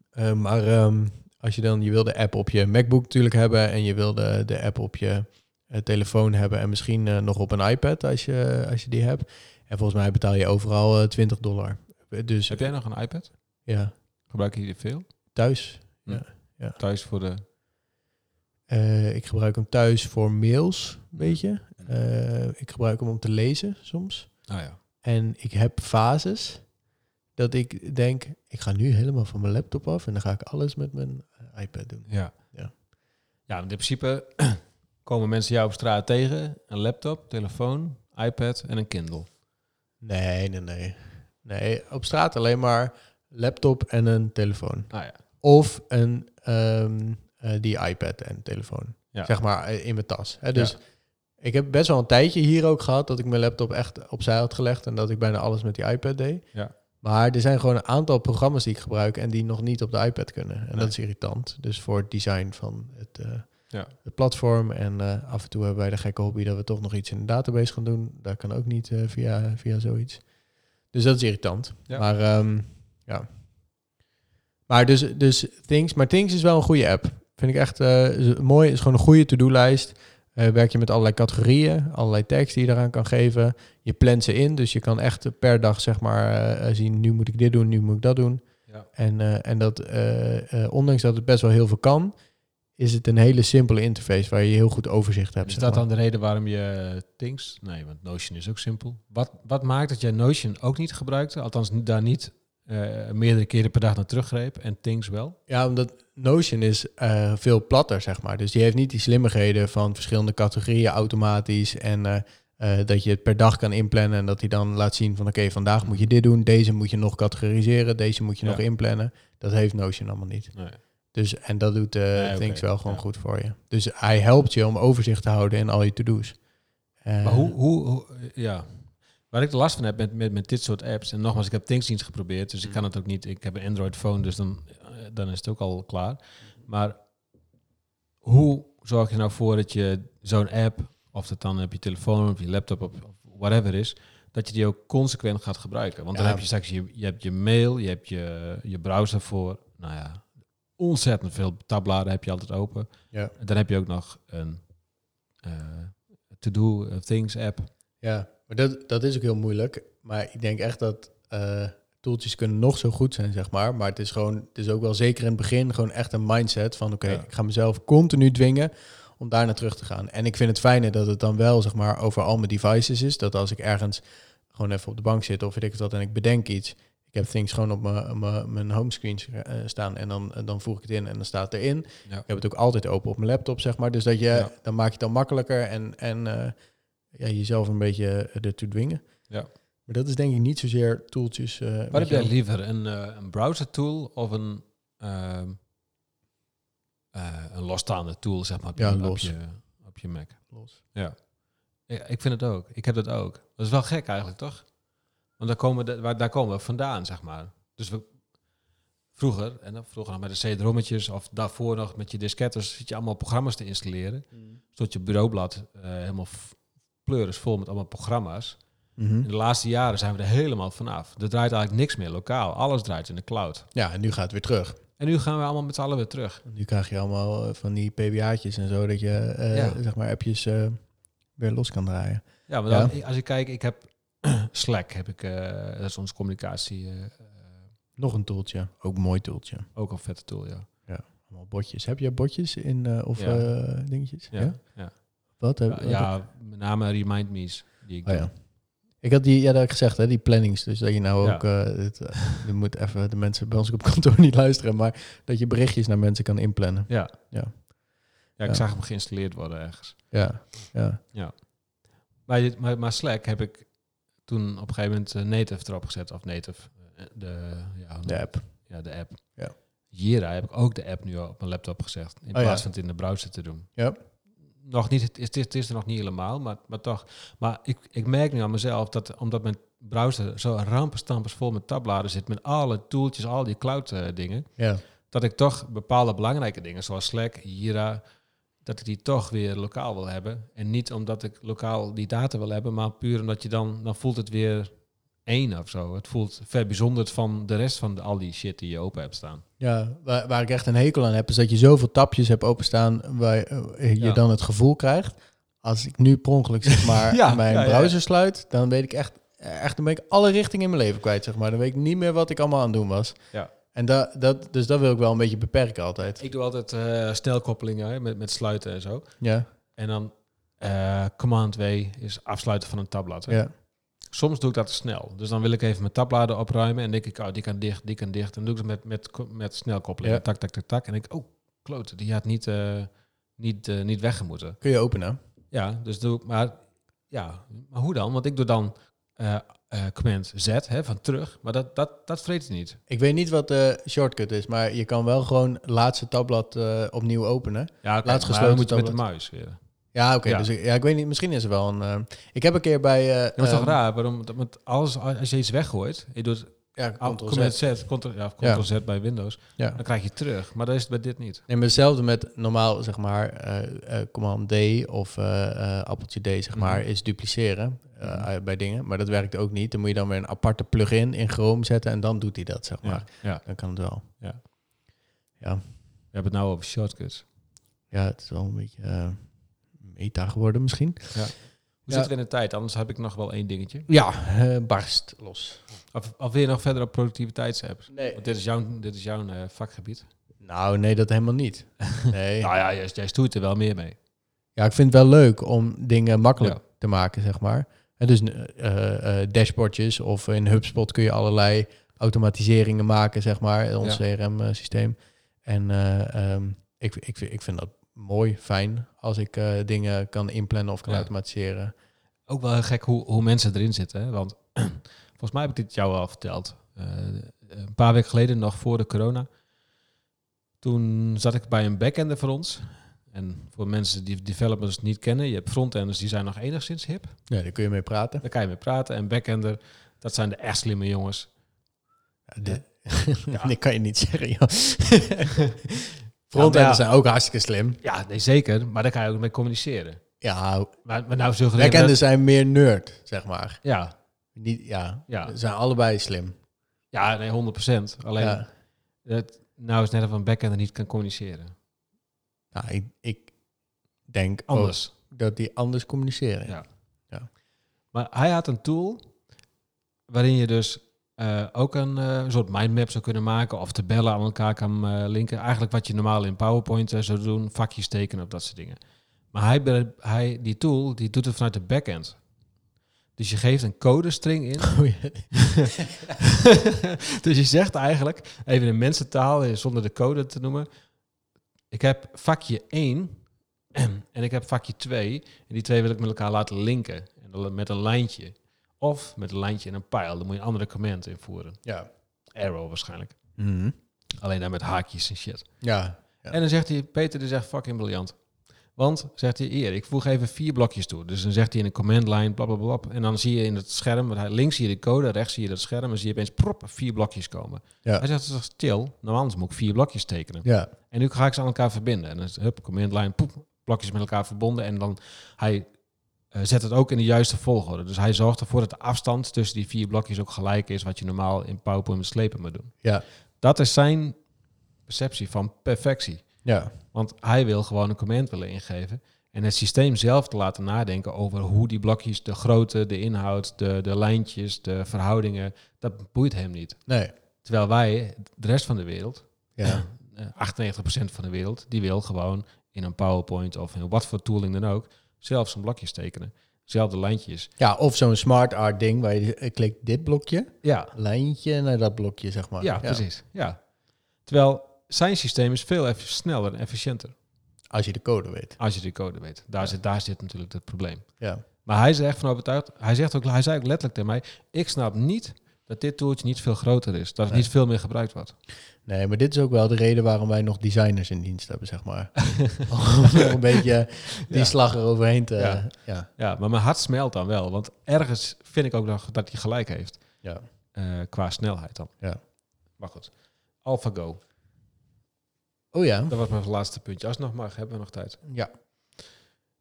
A: Eh, maar ehm, als je dan, je wil de app op je MacBook natuurlijk hebben en je wil de, de app op je eh, telefoon hebben en misschien eh, nog op een iPad als je, als je die hebt. En volgens mij betaal je overal eh, 20 dollar. Dus
B: Heb jij nog een iPad?
A: ja,
B: Gebruik je die veel?
A: thuis.
B: Thuis voor de...
A: Eh, ik gebruik hem thuis voor mails, weet je. Eh, ik gebruik hem om te lezen soms.
B: Nou ja.
A: En ik heb fases dat ik denk, ik ga nu helemaal van mijn laptop af en dan ga ik alles met mijn eh, iPad doen.
B: Ja.
A: Ja.
B: Ja, want in principe komen mensen jou op straat tegen. Een laptop, telefoon, iPad en een Kindle.
A: Nee, nee, nee. Nee, op straat alleen maar laptop en een telefoon.
B: Nou ja.
A: Of een, ehm, eh, die iPad en telefoon.
B: Ja.
A: Zeg maar eh, in mijn tas. Hè? Dus ik heb best wel een tijdje hier ook gehad dat ik mijn laptop echt opzij had gelegd en dat ik bijna alles met die iPad deed.
B: Ja.
A: Maar er zijn gewoon een aantal programma's die ik gebruik en die nog niet op de iPad kunnen. En
B: Nee.
A: dat is irritant. Dus voor het design van het, eh,
B: Ja.
A: het platform. En eh, af en toe hebben wij de gekke hobby dat we toch nog iets in de database gaan doen. Dat kan ook niet eh, via, via zoiets. Dus dat is irritant.
B: Ja.
A: Maar ehm, ja. Maar dus, dus Things. Maar Things is wel een goede app. Vind ik echt eh, is mooi. Is gewoon een goede to-do-lijst. Eh, werk je met allerlei categorieën, allerlei tags die je eraan kan geven. Je plant ze in, dus je kan echt per dag zeg maar eh, zien, nu moet ik dit doen, nu moet ik dat doen.
B: Ja.
A: En, eh, en dat, eh, eh, ondanks dat het best wel heel veel kan, is het een hele simpele interface waar je heel goed overzicht hebt.
B: Is
A: zeg
B: dat
A: maar.
B: dan de reden waarom je Things... Nee, want Notion is ook simpel. Wat, wat maakt dat jij Notion ook niet gebruikte? Althans, n- daar niet eh, meerdere keren per dag naar teruggreep. En Things wel?
A: Ja, omdat Notion is eh, veel platter, zeg maar. Dus die heeft niet die slimmigheden van verschillende categorieën automatisch. En eh, eh, dat je het per dag kan inplannen. En dat hij dan laat zien van oké, vandaag moet je dit doen. Deze moet je nog categoriseren. Deze moet je
B: Ja.
A: nog inplannen. Dat heeft Notion allemaal niet.
B: Nee.
A: Dus, en dat doet eh
B: Ah, oké.
A: Things wel gewoon
B: Ja.
A: goed voor je. Dus hij helpt je om overzicht te houden in al je to-do's. Eh,
B: Maar hoe, hoe, hoe- ja. Waar ik de last van heb met, met, met dit soort apps, en nogmaals, ik heb Things niet geprobeerd,
A: Mm.
B: dus ik kan het ook niet. Ik heb een Android phone, dus dan, eh, dan is het ook al klaar. Maar hoe zorg je nou voor dat je zo'n app, of dat dan op je telefoon, op je laptop, op, op whatever is, dat je die ook consequent gaat gebruiken? Want dan
A: Ja.
B: heb je straks je, je, hebt je mail, je hebt je, je browser voor, nou ja, ontzettend veel tabbladen heb je altijd open.
A: Ja.
B: En Dan heb je ook nog een eh, to-do eh, things app.
A: Ja, maar dat, dat is ook heel moeilijk. Maar ik denk echt dat eh toeltjes kunnen nog zo goed zijn, zeg maar. Maar het is gewoon, het is ook wel zeker in het begin gewoon echt een mindset van oké,
B: Ja.
A: ik ga mezelf continu dwingen om daar naar terug te gaan. En ik vind het fijner dat het dan wel, zeg maar, over al mijn devices is. Dat als ik ergens gewoon even op de bank zit of weet ik het wat en ik bedenk iets, ik heb things gewoon op mijn- op mijn mijn homescreen s- eh, staan en dan, dan voeg ik het in en dan staat het erin.
B: Ja.
A: Ik heb het ook altijd open op mijn laptop, zeg maar. Dus dat je,
B: Ja.
A: dan maak je het dan makkelijker en, en eh, ja, jezelf een beetje eh, ertoe dwingen.
B: Ja.
A: Maar dat is denk ik niet zozeer toeltjes. eh,
B: Wat
A: met
B: heb jij
A: jou.
B: liever, een, eh, een browser tool of een, ehm, eh, een losstaande tool, zeg maar, op,
A: Ja,
B: je, op,
A: los.
B: je, op je Mac?
A: Los.
B: Ja, ik vind het ook. Ik heb dat ook. Dat is wel gek eigenlijk, toch? Want daar komen, de, waar, daar komen we vandaan, zeg maar. Dus we, vroeger, en dan vroeger nog met de CD-rommetjes of daarvoor nog met je disketters, zit je allemaal programma's te installeren. Stond je bureaublad eh, helemaal f- pleuris vol met allemaal programma's. In
A: Mhm.
B: de laatste jaren zijn we er helemaal vanaf. Er draait eigenlijk niks meer lokaal. Alles draait in de cloud.
A: Ja, en nu gaat het weer terug.
B: En nu gaan we allemaal met z'n allen weer terug.
A: Nu krijg je allemaal eh, van die PBA'tjes en zo, dat je eh,
B: Ja.
A: zeg maar appjes eh, weer los kan draaien.
B: Ja, maar
A: Ja.
B: dan- als ik kijk, ik heb Slack, heb ik, eh, dat is onze communicatie, eh,
A: Nog een toeltje, ook een mooi toeltje.
B: ook een vette tool, ja.
A: Allemaal botjes. Heb jij botjes in eh, of
B: Ja.
A: eh, dingetjes? Ja.
B: Ja, ja.
A: Wat heb
B: ja,
A: wat heb-
B: ja, met name Remind Me's. Die ik
A: Oh, ja.
B: doe.
A: Ik had die, ja, dat had ik gezegd, hè, die plannings. Dus dat je nou
B: Ja.
A: ook, eh het, eh, je moet even de mensen bij ons op kantoor niet luisteren, maar dat je berichtjes naar mensen kan inplannen.
B: Ja.
A: Ja.
B: Ja, ik
A: Ja.
B: zag hem geïnstalleerd worden ergens.
A: Ja, ja.
B: Maar, dit- maar, maar Slack heb ik toen op een gegeven moment eh, native erop gezet. Of native, eh, de, ja, hoe noem je
A: De app.
B: Ja, de app.
A: Ja. Oh,
B: Jira heb ik ook de app nu op mijn laptop gezegd. In
A: ja.
B: plaats van het in de browser te doen.
A: Ja.
B: Nog niet, het, is, het is- het is er nog niet helemaal, maar, maar toch. Maar ik, ik merk nu aan mezelf dat omdat mijn browser zo rampenstampers vol met tabbladen zit... met alle tooltjes, al die cloud eh, dingen...
A: Ja.
B: dat ik toch bepaalde belangrijke dingen zoals Slack, Jira... dat ik die toch weer lokaal wil hebben. En niet omdat ik lokaal die data wil hebben... maar puur omdat je dan... dan voelt het weer één of zo. Het voelt verbijzonderd van de rest van de- al die shit die je open hebt staan.
A: Ja, waar, waar ik echt een hekel aan heb, is dat je zoveel tapjes hebt openstaan waar eh, je
B: Ja.
A: dan het gevoel krijgt. Als ik nu per ongeluk zeg maar
B: Ja,
A: mijn
B: ja, ja.
A: browser sluit, dan weet ik echt, echt, dan ben ik alle richtingen in mijn leven kwijt, zeg maar. Dan weet ik niet meer wat ik allemaal aan het doen was.
B: Ja.
A: En dat dat, dus dat wil ik wel een beetje beperken altijd.
B: Ik doe altijd eh snelkoppelingen hè, met, met sluiten en zo.
A: Ja,
B: En dan eh, command W is afsluiten van een tabblad. hè.
A: ja.
B: Soms doe ik dat te snel. Dus dan wil ik even mijn tabbladen opruimen en denk ik, oh, die kan dicht, die kan dicht. En dan doe ik het met, met, ko- met snelkoppelingen.
A: Ja.
B: Tak, tak, tak, tak. En denk ik, oh, klote, die had niet, eh, niet, eh, niet weggemoeten.
A: Kun je openen?
B: Ja, dus doe ik, maar ja, maar hoe dan? Want ik doe dan eh, eh, command Z hè, van terug, maar dat, dat, dat vreet hij niet.
A: Ik weet niet wat de shortcut is, maar je kan wel gewoon laatste tabblad eh, opnieuw openen.
B: Ja, oké,
A: Laatst
B: maar
A: gesloten
B: dan moet je met de
A: tabblad.
B: muis weer.
A: Ja, oké.
B: Ja.
A: Dus ik, ja, ik weet niet. Misschien is er wel een. eh, ik heb een keer bij. eh
B: Ja, maar het is
A: ehm,
B: toch raar, waarom? Want alles, als je iets weggooit, je doet
A: Ja,
B: Al-
A: Ctrl Z.
B: Command Z, Ctrl, ja, of Ctrl Z bij Windows,
A: Ja.
B: dan krijg je het terug. Maar dat is het bij dit niet.
A: Nee, maar hetzelfde met normaal, zeg maar, eh, eh, command D of eh, eh, appeltje D, zeg maar,
B: Mhm.
A: is dupliceren eh,
B: Mhm.
A: eh, bij dingen. Maar dat werkt ook niet. Dan moet je dan weer een aparte plugin in Chrome zetten en dan doet hij dat, zeg maar.
B: Ja. Ja.
A: Dan kan het wel.
B: We hebben het nou over shortcuts.
A: Ja, het is wel een beetje eh, meta geworden misschien.
B: Hoe
A: Ja.
B: zitten we in de tijd? Anders heb ik nog wel één dingetje.
A: Ja, eh, barst los.
B: Of, of wil je nog verder op productiviteitsapps?
A: Nee.
B: Want dit is jouw, dit is jouw eh, vakgebied.
A: Nou, nee, dat helemaal niet. Nee.
B: Nou ja, jij, jij stoeit er wel meer mee.
A: Ja, ik vind het wel leuk om dingen makkelijk
B: Ja.
A: te maken, zeg maar. En dus eh, eh, dashboardjes of in HubSpot kun je allerlei automatiseringen maken, zeg maar, in ons CRM-systeem. eh, En eh, ehm, ik, ik, vind- ik vind dat mooi, fijn, als ik eh, dingen kan inplannen of kan
B: Ja.
A: automatiseren.
B: Ook wel heel gek hoe, hoe mensen erin zitten. Hè? Want volgens mij heb ik dit jou al verteld. Eh, een paar weken geleden, nog voor de corona. Toen zat ik bij een backender voor ons. En voor mensen die developers niet kennen, je hebt frontenders die zijn nog enigszins hip.
A: Ja, daar kun je mee praten.
B: Daar kan je mee praten. En backender, dat zijn de echt slimme jongens.
A: Ja, dit- dit kan je niet zeggen, joh. Frontenders
B: Ja, maar ja.
A: zijn ook hartstikke slim.
B: Ja, nee, zeker. Maar daar kan je ook mee communiceren.
A: Ja,
B: Maar, maar nou suggereren we-
A: backenders zijn meer nerd, zeg maar.
B: Ja,
A: Niet, ja,
B: Ja.
A: ze zijn allebei slim.
B: ja nee, 100%. Alleen,
A: Ja.
B: het, nou is net of een backender niet kan communiceren.
A: Nou, ik, ik denk anders.
B: Anders.
A: dat die anders communiceren.
B: Ja.
A: Ja.
B: Maar hij had een tool waarin je dus eh, ook een eh, soort mindmap zou kunnen maken of tabellen aan elkaar kan eh, linken. Eigenlijk wat je normaal in PowerPoint eh, zou doen, vakjes tekenen of dat soort dingen. Maar hij, be- hij, die tool die doet het vanuit de backend. Dus je geeft een codestring in.
A: Oh, ja.
B: dus je zegt eigenlijk, even in mensentaal, eh, zonder de code te noemen. Ik heb vakje 1 en ik heb vakje 2. En die twee wil ik met elkaar laten linken. En dan met een lijntje. Of met een lijntje en een pijl. Dan moet je een andere command invoeren.
A: ja.
B: Arrow waarschijnlijk. Alleen dan met haakjes en shit.
A: Ja. Ja.
B: En dan zegt hij, Peter is echt fucking briljant. Want, zegt hij, hier, ik voeg even vier blokjes toe. Dus dan zegt hij in de command line, bla bla bla. bla. En dan zie je in het scherm, want hij- links zie je de code, rechts zie je dat scherm. En zie je opeens prop, vier blokjes komen.
A: Ja.
B: Hij zegt, dat is chill, nou anders moet ik vier blokjes tekenen.
A: Ja.
B: En nu ga ik ze aan elkaar verbinden. En dan is, hup, command line, poep, blokjes met elkaar verbonden. En dan, hij eh, zet het ook in de juiste volgorde. Dus hij zorgt ervoor dat de afstand tussen die vier blokjes ook gelijk is... wat je normaal in PowerPoint met slepen moet doen.
A: Ja.
B: Dat is zijn perceptie van perfectie.
A: Ja.
B: Want hij wil gewoon een command willen ingeven. En het systeem zelf te laten nadenken over hoe die blokjes, de grootte, de inhoud, de, de lijntjes, de verhoudingen, dat boeit hem niet.
A: Nee.
B: Terwijl wij, de rest van de wereld,
A: Ja.
B: eh, 98% van de wereld, die wil gewoon in een PowerPoint of in wat voor tooling dan ook, zelf zijn blokjes tekenen. Zelf de lijntjes.
A: ja, of zo'n smart art ding waar je eh, klikt dit blokje,
B: Ja,
A: lijntje naar dat blokje, zeg maar.
B: ja, precies. Ja. Terwijl zijn systeem is veel eff- sneller en efficiënter
A: Als je de code weet.
B: als je de code weet. Daar, zit, daar zit natuurlijk het probleem.
A: Ja.
B: Maar hij is er echt van overtuigd. Hij, zegt ook, hij zei ook letterlijk tegen mij: Ik snap niet dat dit toeltje niet veel groter is. Dat het
A: Nee.
B: niet veel meer gebruikt wordt.
A: Nee, maar dit is ook wel de reden waarom wij nog designers in dienst hebben, zeg maar. Om nog een beetje die
B: Ja.
A: slag eroverheen te...
B: Ja.
A: Ja. Ja.
B: Ja, maar mijn hart smelt dan wel. Want ergens vind ik ook nog dat hij gelijk heeft.
A: Ja.
B: eh, qua snelheid dan.
A: Ja.
B: Maar goed. AlphaGo.
A: Oh ja.
B: Dat was mijn laatste puntje. Als het nog mag, hebben we nog tijd.
A: Ja.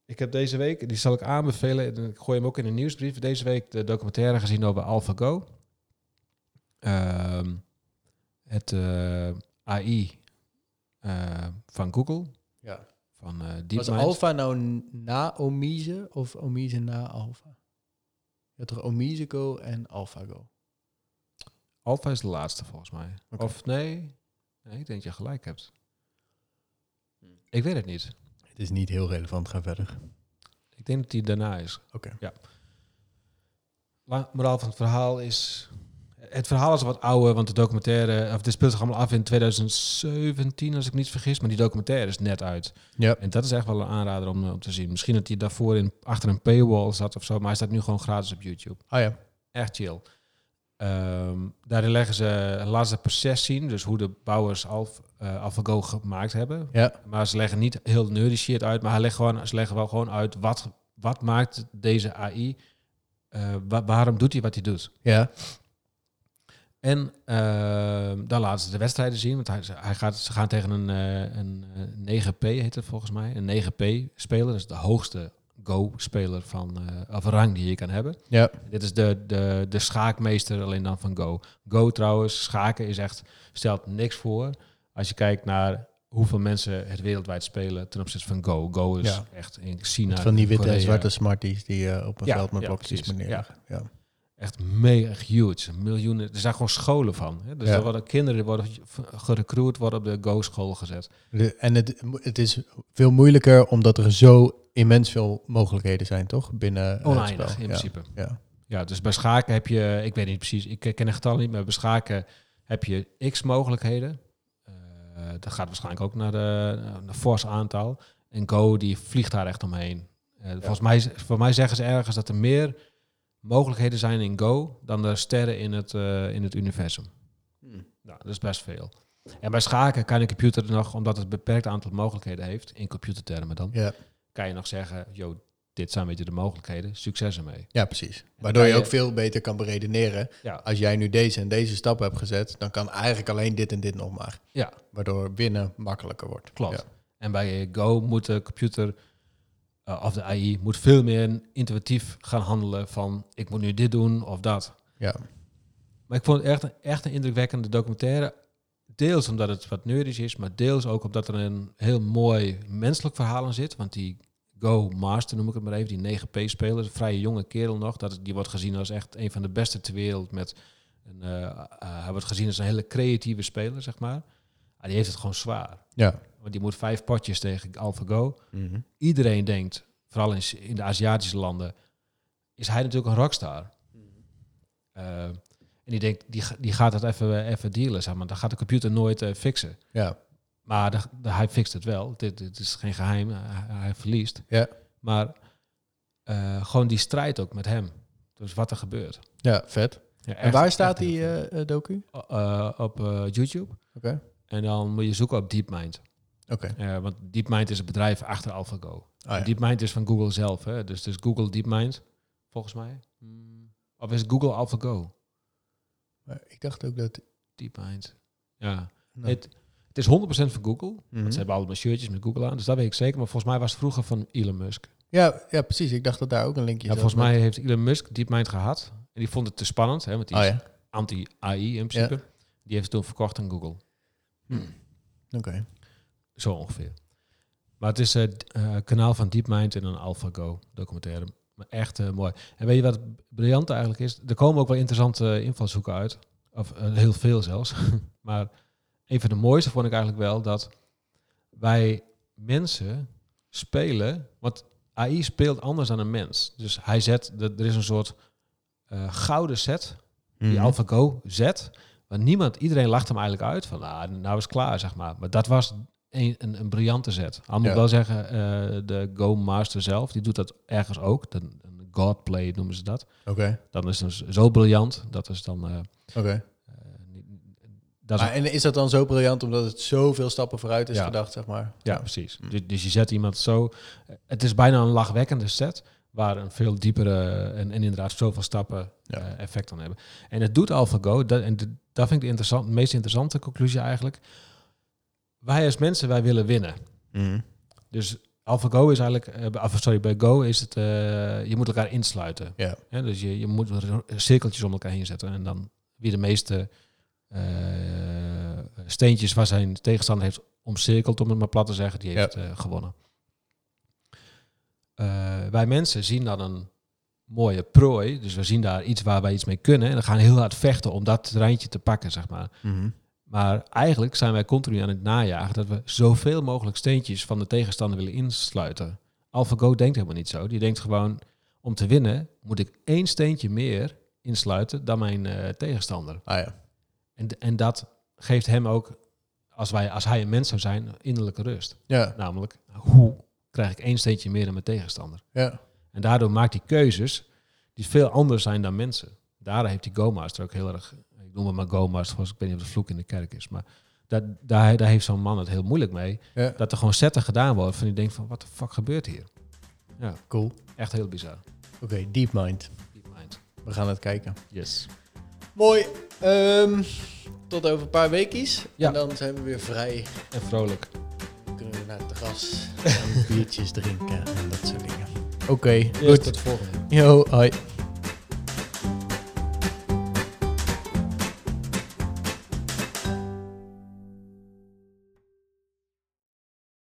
B: Ik heb deze week, die zal ik aanbevelen. en Ik gooi hem ook in de nieuwsbrief. Deze week de documentaire gezien over AlphaGo. Ehm, het eh, AI eh, van Google.
A: ja.
B: Van eh
A: Was
B: DeepMind.
A: Alpha nou n- na Omise of Omise na Alpha? Je had toch Omise Go en Alpha Go?
B: Alpha is de laatste volgens mij.
A: Oké.
B: Of nee. Nee, ik denk dat je gelijk hebt. Ik weet het niet.
A: Het is niet heel relevant, ga verder.
B: Ik denk dat die daarna is.
A: Oké.
B: Ja. La- moraal van het verhaal is... Het verhaal is wat ouder, want de documentaire... Of dit speelt zich allemaal af in 2017, als ik me niet vergis. Maar die documentaire is net uit.
A: Ja.
B: En dat is echt wel een aanrader om, eh, om te zien. Misschien dat hij daarvoor in, achter een paywall zat of zo. Maar hij staat nu gewoon gratis op YouTube.
A: Ah ja.
B: Echt chill. Ehm, daarin leggen ze het laatste proces zien. Dus hoe de bouwers Alf, eh, AlphaGo gemaakt hebben.
A: Ja.
B: Maar ze leggen niet heel nerdy shit uit. Maar hij legt gewoon, ze leggen wel gewoon uit wat, wat maakt deze AI... eh, wa- waarom doet hij wat hij doet?
A: Ja.
B: En ehm, dan laten ze de wedstrijden zien. Want hij, hij gaat, ze gaan tegen een, eh, een eh, 9P, heet het volgens mij. Een 9P-speler. Dat is de hoogste Go-speler van eh, of rang die je kan hebben.
A: Ja.
B: Dit is de, de, de schaakmeester alleen dan van Go. Go trouwens, schaken is echt, stelt niks voor. Als je kijkt naar hoeveel mensen het wereldwijd spelen ten opzichte van Go. Go is
A: Ja.
B: echt in China.
A: van die witte en
B: Korea,
A: zwarte smarties die eh, op een
B: Ja,
A: veld met
B: ja,
A: blokjes
B: precies.
A: meneer. Ja. Ja.
B: Echt mega huge. Miljoenen. Er zijn gewoon scholen van. Hè? Dus
A: Ja.
B: er worden kinderen die worden v- gerecruit, worden op de Go-school gezet.
A: De- En het, mo- het is veel moeilijker omdat er zo immens veel mogelijkheden zijn, toch? Binnen eh, het
B: Oneindig
A: spel.
B: in
A: ja.
B: principe.
A: Ja.
B: Ja, dus bij schaken heb je, ik weet niet precies, ik ken de getallen niet, maar bij schaken heb je x mogelijkheden. Eh, dat gaat waarschijnlijk ook naar de naar een fors aantal. En Go die vliegt daar echt omheen. Eh, Volgens mij, is- voor mij zeggen ze ergens dat er meer mogelijkheden zijn in Go dan er sterren in het, eh, in het universum.
A: Hmm.
B: Nou, dat is best veel. En bij schaken kan een computer nog, omdat het een beperkt aantal mogelijkheden heeft, in computertermen dan,
A: Ja.
B: kan je nog zeggen, joh, dit zijn een beetje de mogelijkheden, succes ermee.
A: ja, precies.
B: dan
A: Waardoor
B: kan
A: je ook
B: je-
A: veel beter kan beredeneren.
B: Ja,
A: Als jij nu deze en deze stap hebt gezet, dan kan eigenlijk alleen dit en dit nog maar.
B: ja.
A: Waardoor winnen makkelijker wordt.
B: Klopt.
A: Ja.
B: En bij Go moet de computer eh, of de AI moet veel meer intuïtief gaan handelen van ik moet nu dit doen of dat.
A: Ja.
B: Maar ik vond het echt, een- echt een indrukwekkende documentaire. Deels omdat het wat nerdisch is, maar deels ook omdat er een heel mooi menselijk verhaal in zit. Want die Go Master noem ik het maar even, die 9P-speler, een vrije jonge kerel nog, dat, die wordt gezien als echt een van de beste ter wereld. Met een, eh, eh, hij wordt gezien als een hele creatieve speler, zeg maar. Maar die heeft het gewoon zwaar.
A: Ja.
B: Want die moet vijf potjes
A: Mhm.
B: tegen AlphaGo. Iedereen denkt, vooral in, in de Aziatische landen, is hij natuurlijk een rockstar.
A: Mhm.
B: Eh, en die denkt, die, ga- die gaat dat even, even dealen, zeg maar. Dan gaat de computer nooit eh, fixen.
A: Ja,
B: Maar de, de- hij fixt het wel. Dit, dit is geen geheim. Hij, hij verliest.
A: Ja.
B: Maar eh, gewoon die strijd ook met hem. Dus wat er gebeurt.
A: ja vet.
B: Ja,
A: en
B: echt-
A: waar
B: echt
A: staat
B: heel
A: die
B: vet.
A: eh, eh, docu? Oké.
B: Eh, op eh, YouTube.
A: Oké.
B: En dan moet je zoeken op DeepMind. Eh, want DeepMind is het bedrijf achter AlphaGo.
A: Ah, ja.
B: DeepMind is van Google zelf. Hè? Dus, dus Google DeepMind, volgens mij. Hmm. Of is het Google AlphaGo?
A: Maar Ik dacht ook dat...
B: DeepMind. Ja.
A: Nou,
B: Het, het is 100% van Google.
A: mhm.
B: Want ze hebben allemaal shirtjes met Google aan. Dus dat weet ik zeker. Maar volgens mij was het vroeger van Elon Musk.
A: ja, ja, precies. Ik dacht dat daar ook een linkje
B: Ja,
A: zat
B: volgens
A: met-
B: mij heeft Elon Musk DeepMind gehad. En die vond het te spannend. Hè? Want die
A: Oh
B: is
A: ja,
B: anti-AI in principe. Die heeft het toen verkocht aan Google.
A: oké.
B: Zo ongeveer. Maar het is het kanaal van DeepMind en een AlphaGo documentaire. Maar echt eh, mooi. En weet je wat briljant eigenlijk is? Er komen ook wel interessante eh, invalshoeken uit. Of eh, heel veel zelfs. maar een van de mooiste vond ik eigenlijk wel dat wij mensen spelen. Want AI speelt anders dan een mens. Dus hij zet, er er is een soort eh, gouden set die
A: Mhm.
B: AlphaGo zet. Maar niemand, iedereen lacht hem eigenlijk uit van, ah, nou is het klaar, zeg maar. Maar dat was een, een, een briljante zet. Al moet ik
A: Ja.
B: wel zeggen, eh, de Go Master zelf, die doet dat ergens ook. De, een Godplay noemen ze dat.
A: Oké,
B: Dan is het dus zo briljant, dat is dan... eh,
A: oké.
B: eh, niet- dat is
A: Maar en is dat dan zo briljant omdat het zoveel stappen vooruit is
B: Ja.
A: gedacht, zeg maar?
B: Ja, precies. Dus, dus je zet iemand zo. Het is bijna een lachwekkende set. Waar een veel diepere en, en inderdaad zoveel stappen
A: Ja.
B: eh, effect aan hebben. En het doet AlphaGo. Dat, en d- dat vind ik de, interessant, meest interessante conclusie eigenlijk. Wij als mensen, wij willen winnen.
A: Mhm.
B: Dus AlphaGo is eigenlijk... eh, bij- of sorry, bij Go is het... eh, je moet elkaar insluiten.
A: Ja.
B: Hè, dus je, je moet er cirkeltjes om elkaar heen zetten. En dan wie de meeste eh, steentjes waar zijn tegenstander heeft omcirkeld, om het maar plat te zeggen, die
A: Ja.
B: heeft eh, gewonnen. Eh, wij mensen zien dan een mooie prooi. Dus we zien daar iets waar wij iets mee kunnen. En dan gaan we heel hard vechten om dat terreintje te pakken, zeg maar.
A: Mhm.
B: Maar eigenlijk zijn wij continu aan het najagen dat we zoveel mogelijk steentjes van de tegenstander willen insluiten. AlphaGo denkt helemaal niet zo. Die denkt gewoon, om te winnen moet ik één steentje meer insluiten dan mijn eh, tegenstander.
A: Ah ja,
B: En, en dat geeft hem ook, als, wij, als hij een mens zou zijn, innerlijke rust.
A: ja,
B: Namelijk, hoe krijg ik één steentje meer dan mijn tegenstander?
A: ja.
B: En daardoor maakt hij keuzes die veel anders zijn dan mensen. Daar heeft die GoMaster ook heel erg, ik noem het maar GoMaster, volgens ik weet niet of de vloek in de kerk is, maar dat, daar, daar heeft zo'n man het heel moeilijk mee.
A: Ja.
B: Dat er gewoon setten gedaan worden van die denkt van, wat de fuck gebeurt hier? Ja,
A: Cool.
B: echt heel bizar.
A: Oké, DeepMind.
B: Keep mind.
A: We gaan het kijken.
B: Yes.
A: Mooi. Ehm, tot over een paar weekjes.
B: Ja.
A: En dan zijn we weer vrij.
B: En vrolijk.
A: Dan kunnen we naar het terras. en biertjes drinken en dat soort dingen. Oké,
B: Yes,
A: goed.
B: tot volgende.
A: Yo, hoi.